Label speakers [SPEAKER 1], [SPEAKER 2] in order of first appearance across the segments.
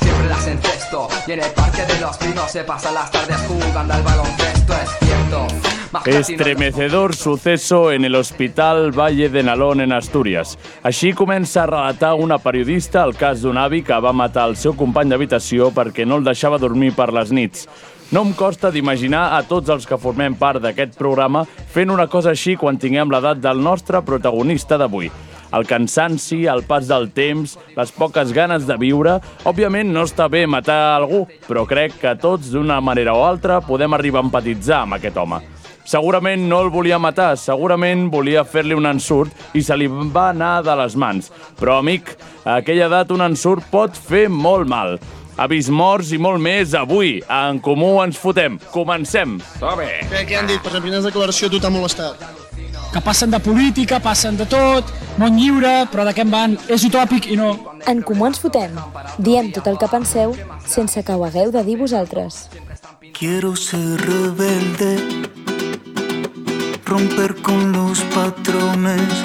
[SPEAKER 1] Siempre las encesto. Y en el parque de los pinos se pasan las tardes jugando al baloncesto, es cierto. Más
[SPEAKER 2] Estremecedor suceso en el Hospital Valle de Nalón, en Astúries. Així comença a relatar una periodista el cas d'un avi que va matar el seu company d'habitació perquè no el deixava dormir per les nits. No em costa d'imaginar a tots els que formem part d'aquest programa fent una cosa així quan tinguem l'edat del nostre protagonista d'avui. El cansanci, el pas del temps, les poques ganes de viure... Òbviament no està bé matar algú, però crec que tots, d'una manera o altra, podem arribar a empatitzar amb aquest home. Segurament no el volia matar, segurament volia fer-li un ensurt i se li va anar de les mans. Però, amic, a aquella edat un ensurt pot fer molt mal. Ha vist morts i molt més avui. A En Comú ens fotem. Comencem.
[SPEAKER 3] Què, què han dit? Per exemple, quines declaració a tu t'ha molestat?
[SPEAKER 4] que passen de política, passen de tot, món lliure, però de què en van? És utòpic i no.
[SPEAKER 5] En Comú Ens Fotem. Diem tot el que penseu sense que ho hagueu de dir vosaltres.
[SPEAKER 6] Quiero ser rebelde, romper con los patrones,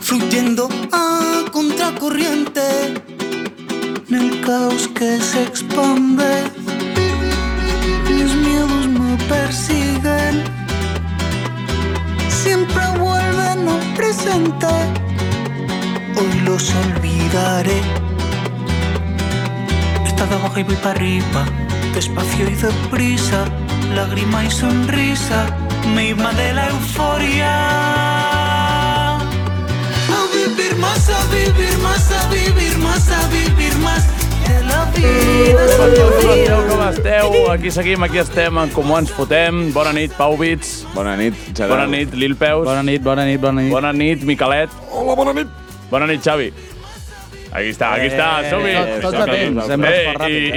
[SPEAKER 6] fluyendo a contracorriente, en el caos que se expande. Mis miedos me persiguen, siempre vuelven al presente. Hoy los olvidaré. Está de abajo y voy para arriba, despacio y deprisa, lágrima y sonrisa, misma de la euforia. A vivir más, a vivir más, a vivir más, a vivir más de la vida.
[SPEAKER 2] Com esteu? Com esteu? Aquí seguim, aquí estem, en Comú ens fotem. Bona nit, Pau Bits.
[SPEAKER 7] Bona nit, Gerard.
[SPEAKER 2] Bona nit, Lil Peus.
[SPEAKER 8] Bona nit, bona nit, bona nit.
[SPEAKER 2] Bona nit, Miquelet. Hola, bona nit. Bona nit, Xavi. Aquí està, aquí està, som-hi.
[SPEAKER 8] tot- Eh, tots atents, hem respost
[SPEAKER 2] eh, i,
[SPEAKER 8] ràpid,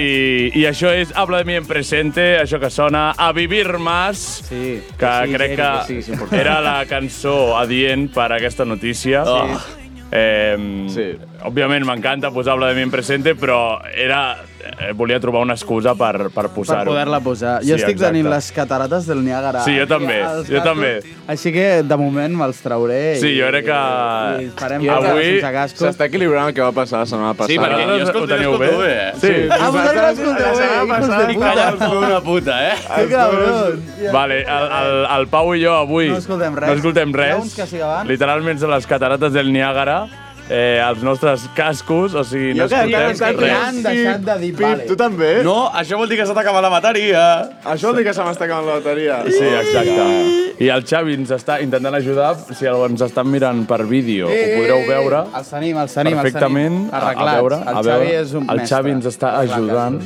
[SPEAKER 2] i, I això és Habla de mi en presente, això que sona a Vivir Más,
[SPEAKER 8] Sí,
[SPEAKER 2] que
[SPEAKER 8] sí,
[SPEAKER 2] crec
[SPEAKER 8] Jerry,
[SPEAKER 2] que
[SPEAKER 8] sí, és important.
[SPEAKER 2] era la cançó adient per a aquesta notícia. Sí. Eh, sí.
[SPEAKER 7] Sí.
[SPEAKER 2] Òbviament m'encanta posar Habla de mi en presente, però era, eh, volia trobar una excusa per, per
[SPEAKER 8] Per
[SPEAKER 2] posar-ho.
[SPEAKER 8] poder-la posar. Jo
[SPEAKER 2] Sí,
[SPEAKER 8] estic tenint
[SPEAKER 2] exacte.
[SPEAKER 8] les catarates del Niàgara.
[SPEAKER 2] Sí, jo
[SPEAKER 8] Aquí
[SPEAKER 2] també,
[SPEAKER 8] als
[SPEAKER 2] jo
[SPEAKER 8] cascos.
[SPEAKER 2] també.
[SPEAKER 8] Així que, de moment, me'ls trauré.
[SPEAKER 2] Sí, jo crec que
[SPEAKER 8] I farem
[SPEAKER 2] avui-
[SPEAKER 8] avui... sense cascos.
[SPEAKER 7] S'està equilibrant el que va passar la setmana passada.
[SPEAKER 9] Sí, perquè jo
[SPEAKER 2] Vosaltres
[SPEAKER 9] escolto,
[SPEAKER 2] ho teniu
[SPEAKER 9] escolto
[SPEAKER 2] bé?
[SPEAKER 9] bé, eh?
[SPEAKER 7] Sí,
[SPEAKER 8] Ah, vosaltres
[SPEAKER 7] vosaltres
[SPEAKER 8] escolteu,
[SPEAKER 7] la
[SPEAKER 8] eh,
[SPEAKER 7] setmana
[SPEAKER 8] hijos
[SPEAKER 7] passada
[SPEAKER 8] de
[SPEAKER 7] i
[SPEAKER 8] puta.
[SPEAKER 7] calla
[SPEAKER 9] Callar com una puta, eh?
[SPEAKER 8] Que cabron!
[SPEAKER 2] Vale, el, el, el Pau i jo avui
[SPEAKER 8] No escoltem res.
[SPEAKER 2] no escoltem
[SPEAKER 8] Hi ha
[SPEAKER 2] res.
[SPEAKER 8] uns que sí abans.
[SPEAKER 2] Literalment són les catarates del Niàgara, eh, els nostres cascos, o sigui, no
[SPEAKER 7] Jo que
[SPEAKER 2] escoltem
[SPEAKER 7] encara estic
[SPEAKER 2] res.
[SPEAKER 8] Han deixat de dir, vale.
[SPEAKER 7] Tu també?
[SPEAKER 9] No, això vol dir que s'ha d'acabar la bateria.
[SPEAKER 7] Això vol dir que se m'està acabant la bateria.
[SPEAKER 2] Sí, exacte. I el Xavi ens està intentant ajudar, si el- ens estan mirant per vídeo, ho podreu veure.
[SPEAKER 8] Els tenim, els tenim,
[SPEAKER 2] Perfectament,
[SPEAKER 8] els tenim. Arreglats.
[SPEAKER 2] a veure,
[SPEAKER 8] el
[SPEAKER 2] a veure.
[SPEAKER 8] Xavi és un
[SPEAKER 2] el Xavi ens està ajudant.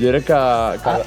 [SPEAKER 2] Jo crec que... que
[SPEAKER 8] Ah,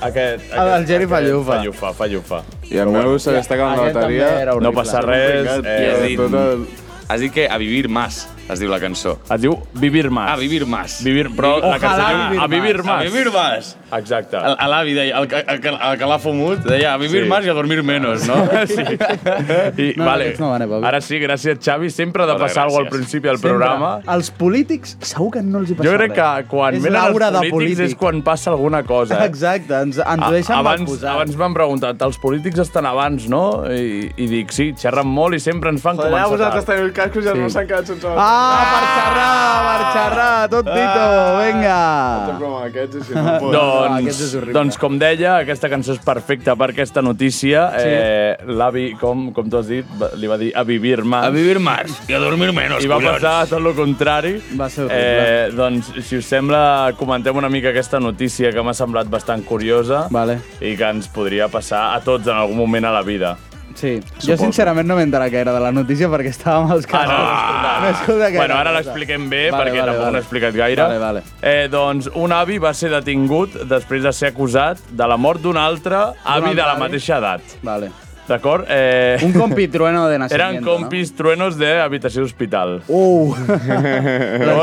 [SPEAKER 2] aquest, aquest,
[SPEAKER 8] El Geri fa
[SPEAKER 2] aquest
[SPEAKER 8] llufa.
[SPEAKER 2] Fa llufa, fa llufa.
[SPEAKER 7] I el meu se l'està acabant la
[SPEAKER 8] Aquest també
[SPEAKER 7] bateria.
[SPEAKER 8] era
[SPEAKER 2] No
[SPEAKER 8] horrible.
[SPEAKER 2] passa res.
[SPEAKER 9] has
[SPEAKER 2] Eh,
[SPEAKER 9] dit-
[SPEAKER 7] Tot el...
[SPEAKER 9] Has dit que a vivir más, es diu la cançó.
[SPEAKER 2] es diu Vivir Más.
[SPEAKER 9] A Ah, vivir más.
[SPEAKER 2] Vivir, però la cançó
[SPEAKER 8] Ojalá
[SPEAKER 2] diu A Vivir
[SPEAKER 9] A
[SPEAKER 2] Más.
[SPEAKER 9] vivir más.
[SPEAKER 2] Exacte.
[SPEAKER 9] El- A l'avi deia, el, que- el, que- el que l'ha fumut, deia a vivir
[SPEAKER 2] Sí.
[SPEAKER 9] más i a dormir menos, no?
[SPEAKER 2] Sí. I,
[SPEAKER 8] No, no,
[SPEAKER 2] vale.
[SPEAKER 8] aquests no van, eh, Pau?
[SPEAKER 2] Ara sí, gràcies, Xavi. Sempre ha de
[SPEAKER 9] Moltes
[SPEAKER 2] passar alguna cosa al
[SPEAKER 9] gràcies.
[SPEAKER 2] principi del programa.
[SPEAKER 8] Els polítics segur que no els hi passa
[SPEAKER 2] Jo crec que
[SPEAKER 8] res.
[SPEAKER 2] quan
[SPEAKER 8] és
[SPEAKER 2] venen
[SPEAKER 8] l'aura
[SPEAKER 2] els
[SPEAKER 8] de
[SPEAKER 2] polítics
[SPEAKER 8] polític.
[SPEAKER 2] és quan passa alguna cosa. Eh?
[SPEAKER 8] Exacte, ens, ens ho
[SPEAKER 2] A-
[SPEAKER 8] deixen
[SPEAKER 2] abans,
[SPEAKER 8] malposats.
[SPEAKER 2] abans m'han preguntat, els polítics estan abans, no? I, i dic, sí, xerren molt i sempre ens fan
[SPEAKER 7] Allà
[SPEAKER 2] començar
[SPEAKER 7] vosaltres
[SPEAKER 2] tard.
[SPEAKER 7] teniu el casco i els
[SPEAKER 2] Sí.
[SPEAKER 7] meus s'han quedat sense
[SPEAKER 8] Ah, per xerrar, per xerrar, tot dito,
[SPEAKER 2] Ah.
[SPEAKER 8] vinga.
[SPEAKER 7] Com aquests, si no pot.
[SPEAKER 8] Ah,
[SPEAKER 2] Doncs,
[SPEAKER 8] aquest és horrible.
[SPEAKER 2] doncs, com deia, aquesta cançó és perfecta per aquesta notícia. Eh, L'avi, com, com tu has dit, va- li va dir a vivir más.
[SPEAKER 9] A vivir más i a dormir menos,
[SPEAKER 2] I va passar tot el contrari.
[SPEAKER 8] Va ser horrible.
[SPEAKER 2] eh, doncs, si us sembla, comentem una mica aquesta notícia que m'ha semblat bastant curiosa
[SPEAKER 8] Vale.
[SPEAKER 2] i que ens podria passar a tots en algun moment a la vida.
[SPEAKER 8] Sí. Jo, sincerament, no m'he enterat gaire de la notícia perquè estàvem als
[SPEAKER 2] Ah,
[SPEAKER 8] casos.
[SPEAKER 2] no,
[SPEAKER 8] no escolta gaire
[SPEAKER 2] bueno, ara
[SPEAKER 8] cosa.
[SPEAKER 2] l'expliquem bé,
[SPEAKER 8] Vale,
[SPEAKER 2] perquè
[SPEAKER 8] vale,
[SPEAKER 2] tampoc
[SPEAKER 8] vale.
[SPEAKER 2] l'he explicat gaire.
[SPEAKER 8] Vale, vale.
[SPEAKER 2] Eh, doncs un avi va ser detingut després de ser acusat de la mort d'un altre avi de la
[SPEAKER 8] altre avi?
[SPEAKER 2] mateixa edat.
[SPEAKER 8] Vale.
[SPEAKER 2] D'acord? Eh,
[SPEAKER 8] Un compitrueno de nacimiento,
[SPEAKER 2] eren compis truenos d'habitació hospital.
[SPEAKER 8] No? Uh! la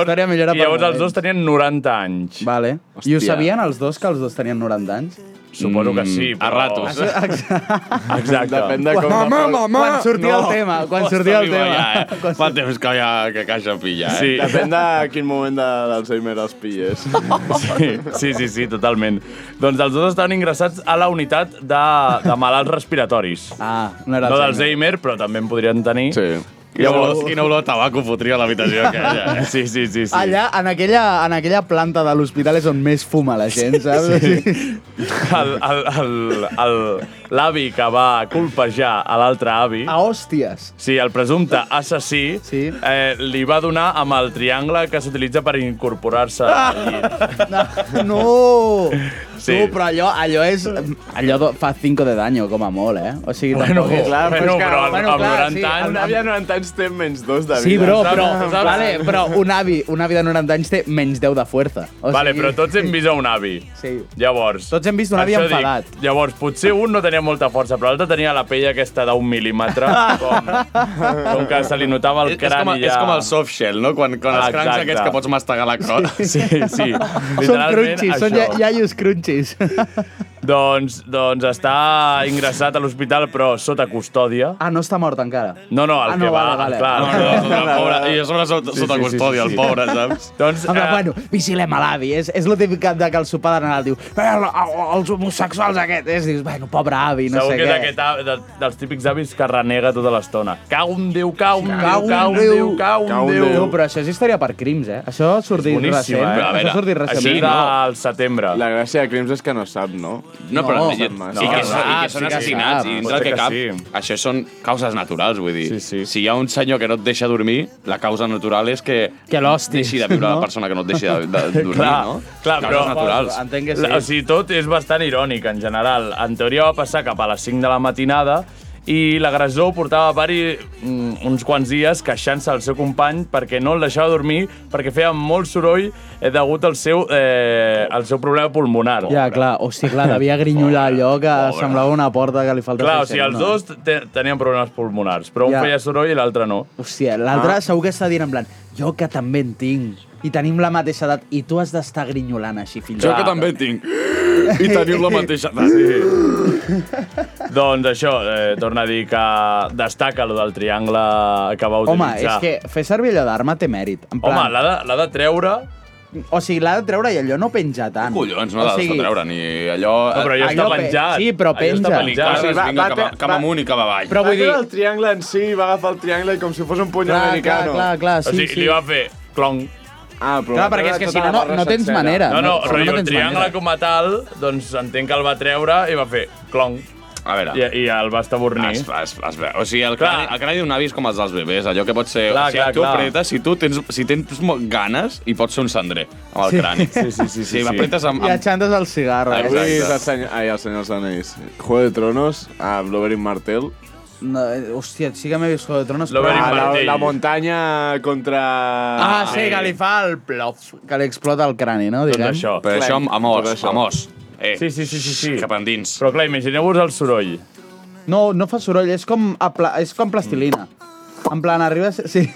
[SPEAKER 8] història millora
[SPEAKER 2] I
[SPEAKER 8] per
[SPEAKER 2] llavors els
[SPEAKER 8] moment.
[SPEAKER 2] dos tenien 90 anys.
[SPEAKER 8] Vale. I ho
[SPEAKER 7] Hòstia.
[SPEAKER 8] sabien els dos que els dos tenien 90 anys?
[SPEAKER 2] Suposo
[SPEAKER 8] Mm,
[SPEAKER 2] que sí,
[SPEAKER 9] a
[SPEAKER 2] però-
[SPEAKER 9] ratos.
[SPEAKER 2] Exacte.
[SPEAKER 7] Depèn de com...
[SPEAKER 8] Quan sortia
[SPEAKER 9] No.
[SPEAKER 8] el tema, quan
[SPEAKER 9] Ho
[SPEAKER 8] sortia el
[SPEAKER 9] està viva
[SPEAKER 8] tema.
[SPEAKER 9] Ja, eh? Fa temps que, ja, que caixa pilla, eh?
[SPEAKER 2] Sí.
[SPEAKER 7] Depèn de quin moment de l'Alzheimer els pilles.
[SPEAKER 2] Sí, sí, sí, sí, totalment. Doncs els dos estaven ingressats a la unitat de, de malalts respiratoris.
[SPEAKER 8] Ah, no era
[SPEAKER 2] No
[SPEAKER 8] Alzheimer.
[SPEAKER 2] d'Alzheimer, però també en podrien tenir.
[SPEAKER 7] Sí.
[SPEAKER 9] Quina olor, quina olor a tabaco fotria l'habitació aquella, eh?
[SPEAKER 2] Sí, sí, sí. sí.
[SPEAKER 8] Allà, en aquella, en aquella planta de l'hospital és on més fuma la gent, saps? Sí.
[SPEAKER 2] El- el- el- el- L'avi que va colpejar a l'altre avi,
[SPEAKER 8] A hòsties.
[SPEAKER 2] sí, el presumpte assassí,
[SPEAKER 8] Ah. Sí.
[SPEAKER 2] eh, li va donar amb el triangle que s'utilitza per incorporar-se al
[SPEAKER 8] Ah.
[SPEAKER 2] llit.
[SPEAKER 8] No!
[SPEAKER 2] Sí.
[SPEAKER 8] Sí. Tu, però allò, allò és... Allò do- fa 5 de daño, com a molt, eh? O sigui,
[SPEAKER 2] Bueno,
[SPEAKER 8] tampoc és...
[SPEAKER 2] clar, bueno,
[SPEAKER 8] és que-
[SPEAKER 2] però amb- amb
[SPEAKER 8] clar,
[SPEAKER 2] 90 anys-
[SPEAKER 8] amb-
[SPEAKER 7] Un avi de 90 anys té menys dos de vida.
[SPEAKER 8] Sí, bro, però,
[SPEAKER 2] Saps? Saps?
[SPEAKER 8] vale, però un, avi, un avi de 90 anys té menys 10 de fuerza. O
[SPEAKER 2] Vale,
[SPEAKER 8] sigui,
[SPEAKER 2] però tots hem vist a un avi.
[SPEAKER 8] Sí.
[SPEAKER 2] Llavors...
[SPEAKER 8] Tots hem vist un avi
[SPEAKER 2] això dic,
[SPEAKER 8] enfadat.
[SPEAKER 2] llavors, potser un no tenia molta força, però l'altre tenia la pell aquesta d'un mil·límetre, com, com que se li notava el
[SPEAKER 9] És, és, com,
[SPEAKER 2] crani
[SPEAKER 9] és
[SPEAKER 2] ja...
[SPEAKER 9] com el soft shell, no? Quan, quan els crancs
[SPEAKER 2] Exacte.
[SPEAKER 9] aquests que pots mastegar la cor.
[SPEAKER 2] Sí, sí.
[SPEAKER 8] Són
[SPEAKER 2] Literalment,
[SPEAKER 8] crunchies,
[SPEAKER 2] això.
[SPEAKER 8] són ja, iaios crunchies.
[SPEAKER 2] Doncs, doncs està ingressat a l'hospital, però sota custòdia.
[SPEAKER 8] Ah, no està mort encara.
[SPEAKER 2] No, no, el
[SPEAKER 8] Ah,
[SPEAKER 2] que
[SPEAKER 8] no,
[SPEAKER 2] va,
[SPEAKER 8] vale, vale.
[SPEAKER 2] clar.
[SPEAKER 9] No, no, sota el pobre, I a sobre sota, sota custòdia, el pobre, saps?
[SPEAKER 2] Doncs,
[SPEAKER 8] Home,
[SPEAKER 2] eh,
[SPEAKER 8] bueno, vigilem a l'avi. És, és el típic de que el sopar de Nadal diu eh, el- el- els homosexuals aquests. És, dius, bueno, pobre avi, no
[SPEAKER 2] segur
[SPEAKER 8] sé
[SPEAKER 2] que és
[SPEAKER 8] què.
[SPEAKER 2] aquest avi, de, dels típics avis que renega tota l'estona. Cau un Déu, cau un
[SPEAKER 8] Cau
[SPEAKER 2] Déu,
[SPEAKER 8] un
[SPEAKER 2] cau un
[SPEAKER 8] Déu.
[SPEAKER 2] Déu, cau un
[SPEAKER 7] Cau un
[SPEAKER 2] Déu.
[SPEAKER 7] Déu.
[SPEAKER 8] No, però això és història per crims, eh? Això ha sortit recent.
[SPEAKER 2] Boníssim, eh?
[SPEAKER 9] A veure,
[SPEAKER 8] Això ha sortit
[SPEAKER 2] Així
[SPEAKER 8] recentment.
[SPEAKER 2] del setembre.
[SPEAKER 7] La gràcia de Crims és que no sap, no?
[SPEAKER 9] No, però...
[SPEAKER 8] No,
[SPEAKER 9] i, i,
[SPEAKER 7] no,
[SPEAKER 9] que,
[SPEAKER 2] no, ah,
[SPEAKER 9] i que
[SPEAKER 8] sí
[SPEAKER 9] són
[SPEAKER 8] que
[SPEAKER 9] assassinats.
[SPEAKER 8] sap,
[SPEAKER 2] pot
[SPEAKER 9] I dintre
[SPEAKER 2] ser
[SPEAKER 9] que
[SPEAKER 2] que
[SPEAKER 9] cap,
[SPEAKER 2] sí.
[SPEAKER 9] això són causes naturals, vull dir.
[SPEAKER 2] Sí, sí.
[SPEAKER 9] Si hi ha un senyor que no et deixa dormir, la causa natural és que...
[SPEAKER 8] Que l'hòstia.
[SPEAKER 9] Deixi de viure la persona que no et deixi de, de dormir,
[SPEAKER 2] Clar,
[SPEAKER 9] no?
[SPEAKER 2] clar,
[SPEAKER 9] Causes
[SPEAKER 2] però-
[SPEAKER 9] naturals.
[SPEAKER 8] Entenc que sí.
[SPEAKER 2] La- O sigui, tot és bastant irònic, en general. En teoria va passar cap a les 5 de la matinada i l'agressor portava a pari mm, uns quants dies queixant-se al seu company perquè no el deixava dormir, perquè feia molt soroll eh, degut al seu, eh, al seu problema pulmonar.
[SPEAKER 8] Ja, clar, hòstia, clar, devia grinyolar allò que semblava una porta que li faltava.
[SPEAKER 2] Clar, o sigui, els dos te- tenien problemes pulmonars, però un
[SPEAKER 8] Ja.
[SPEAKER 2] feia soroll i l'altre no.
[SPEAKER 8] Hòstia, l'altre ah. segur que està dient en plan jo que també en tinc i tenim la mateixa edat i tu has d'estar grinyolant així, fill. de puta."
[SPEAKER 9] tinc. I teniu la mateixa edat. Sí.
[SPEAKER 2] Doncs això, eh, torna a dir que destaca lo del triangle que va
[SPEAKER 8] Home,
[SPEAKER 2] utilitzar.
[SPEAKER 8] és que fer servir allò d'arma té mèrit. En
[SPEAKER 2] Home,
[SPEAKER 8] plan,
[SPEAKER 2] l'ha de, l'ha de treure...
[SPEAKER 8] O sigui, l'ha de treure i allò no penja tant.
[SPEAKER 9] Collons, no l'has
[SPEAKER 8] o sigui,
[SPEAKER 9] de treure ni allò...
[SPEAKER 2] No, però allò
[SPEAKER 8] Eh,
[SPEAKER 2] està
[SPEAKER 8] allò pe-
[SPEAKER 2] penjat.
[SPEAKER 8] sí, però
[SPEAKER 2] Allò
[SPEAKER 8] penja.
[SPEAKER 2] Està
[SPEAKER 9] Ja,
[SPEAKER 2] penjat.
[SPEAKER 7] Sí, va-
[SPEAKER 9] vinga,
[SPEAKER 7] va-
[SPEAKER 9] cap, a, cap
[SPEAKER 7] va-
[SPEAKER 9] amunt i cap avall.
[SPEAKER 8] Però
[SPEAKER 7] Va
[SPEAKER 8] vull dir...
[SPEAKER 7] treure el triangle en si, va agafar el triangle i com si fos un puny
[SPEAKER 8] Clar, clar,
[SPEAKER 7] americano.
[SPEAKER 8] clar, clar,
[SPEAKER 2] o
[SPEAKER 8] sí,
[SPEAKER 2] sigui,
[SPEAKER 8] sí.
[SPEAKER 2] li va fer clonc.
[SPEAKER 7] Ah, però
[SPEAKER 8] Clar, perquè és que si no, no, Ah, no tens manera.
[SPEAKER 2] No, no,
[SPEAKER 8] si
[SPEAKER 2] rotllo, el
[SPEAKER 8] tens
[SPEAKER 2] triangle
[SPEAKER 8] manera.
[SPEAKER 2] com a tal, doncs entenc que el va treure i va fer clonc.
[SPEAKER 9] A veure.
[SPEAKER 8] Ah.
[SPEAKER 2] I, i el va estabornir.
[SPEAKER 9] Es, es, es veu. O sigui, el
[SPEAKER 2] Clar.
[SPEAKER 9] crani, el crani d'un avi és com els dels bebès, allò que pot ser...
[SPEAKER 2] Clar,
[SPEAKER 9] o sigui,
[SPEAKER 2] clar,
[SPEAKER 9] tu
[SPEAKER 2] clar.
[SPEAKER 9] apretes, si tu tens, si tens mo- ganes, i pots ser un cendrer amb el crani. Sí, sí, sí. Si
[SPEAKER 2] sí.
[SPEAKER 9] apretes amb...
[SPEAKER 8] I
[SPEAKER 9] amb...
[SPEAKER 8] aixantes el cigarro.
[SPEAKER 9] Ah,
[SPEAKER 8] Eh?
[SPEAKER 9] exacte.
[SPEAKER 7] Avui és el senyor... Ai, el senyor dels Anéis. Juego de Tronos, a Wolverine Martell.
[SPEAKER 8] No, eh, hòstia, sí que m'he vist Juego de Tronos.
[SPEAKER 2] Lo
[SPEAKER 8] però-
[SPEAKER 2] verim
[SPEAKER 7] Ah, la,
[SPEAKER 2] Martell.
[SPEAKER 7] la muntanya contra...
[SPEAKER 8] Ah, sí, que li fa el plof. Que li explota el crani, no?
[SPEAKER 2] Tot
[SPEAKER 8] Diguem.
[SPEAKER 2] Doncs això.
[SPEAKER 9] Però Doncs això amb, amb os,
[SPEAKER 7] Tot això.
[SPEAKER 9] amb os. Eh,
[SPEAKER 2] Sí, sí, sí, sí, sí.
[SPEAKER 9] Cap endins.
[SPEAKER 2] Però clar, imagineu-vos el soroll.
[SPEAKER 8] No, no fa soroll, és com, apla és com plastilina.
[SPEAKER 9] Mm.
[SPEAKER 8] En plan, arriba... a ser- Sí.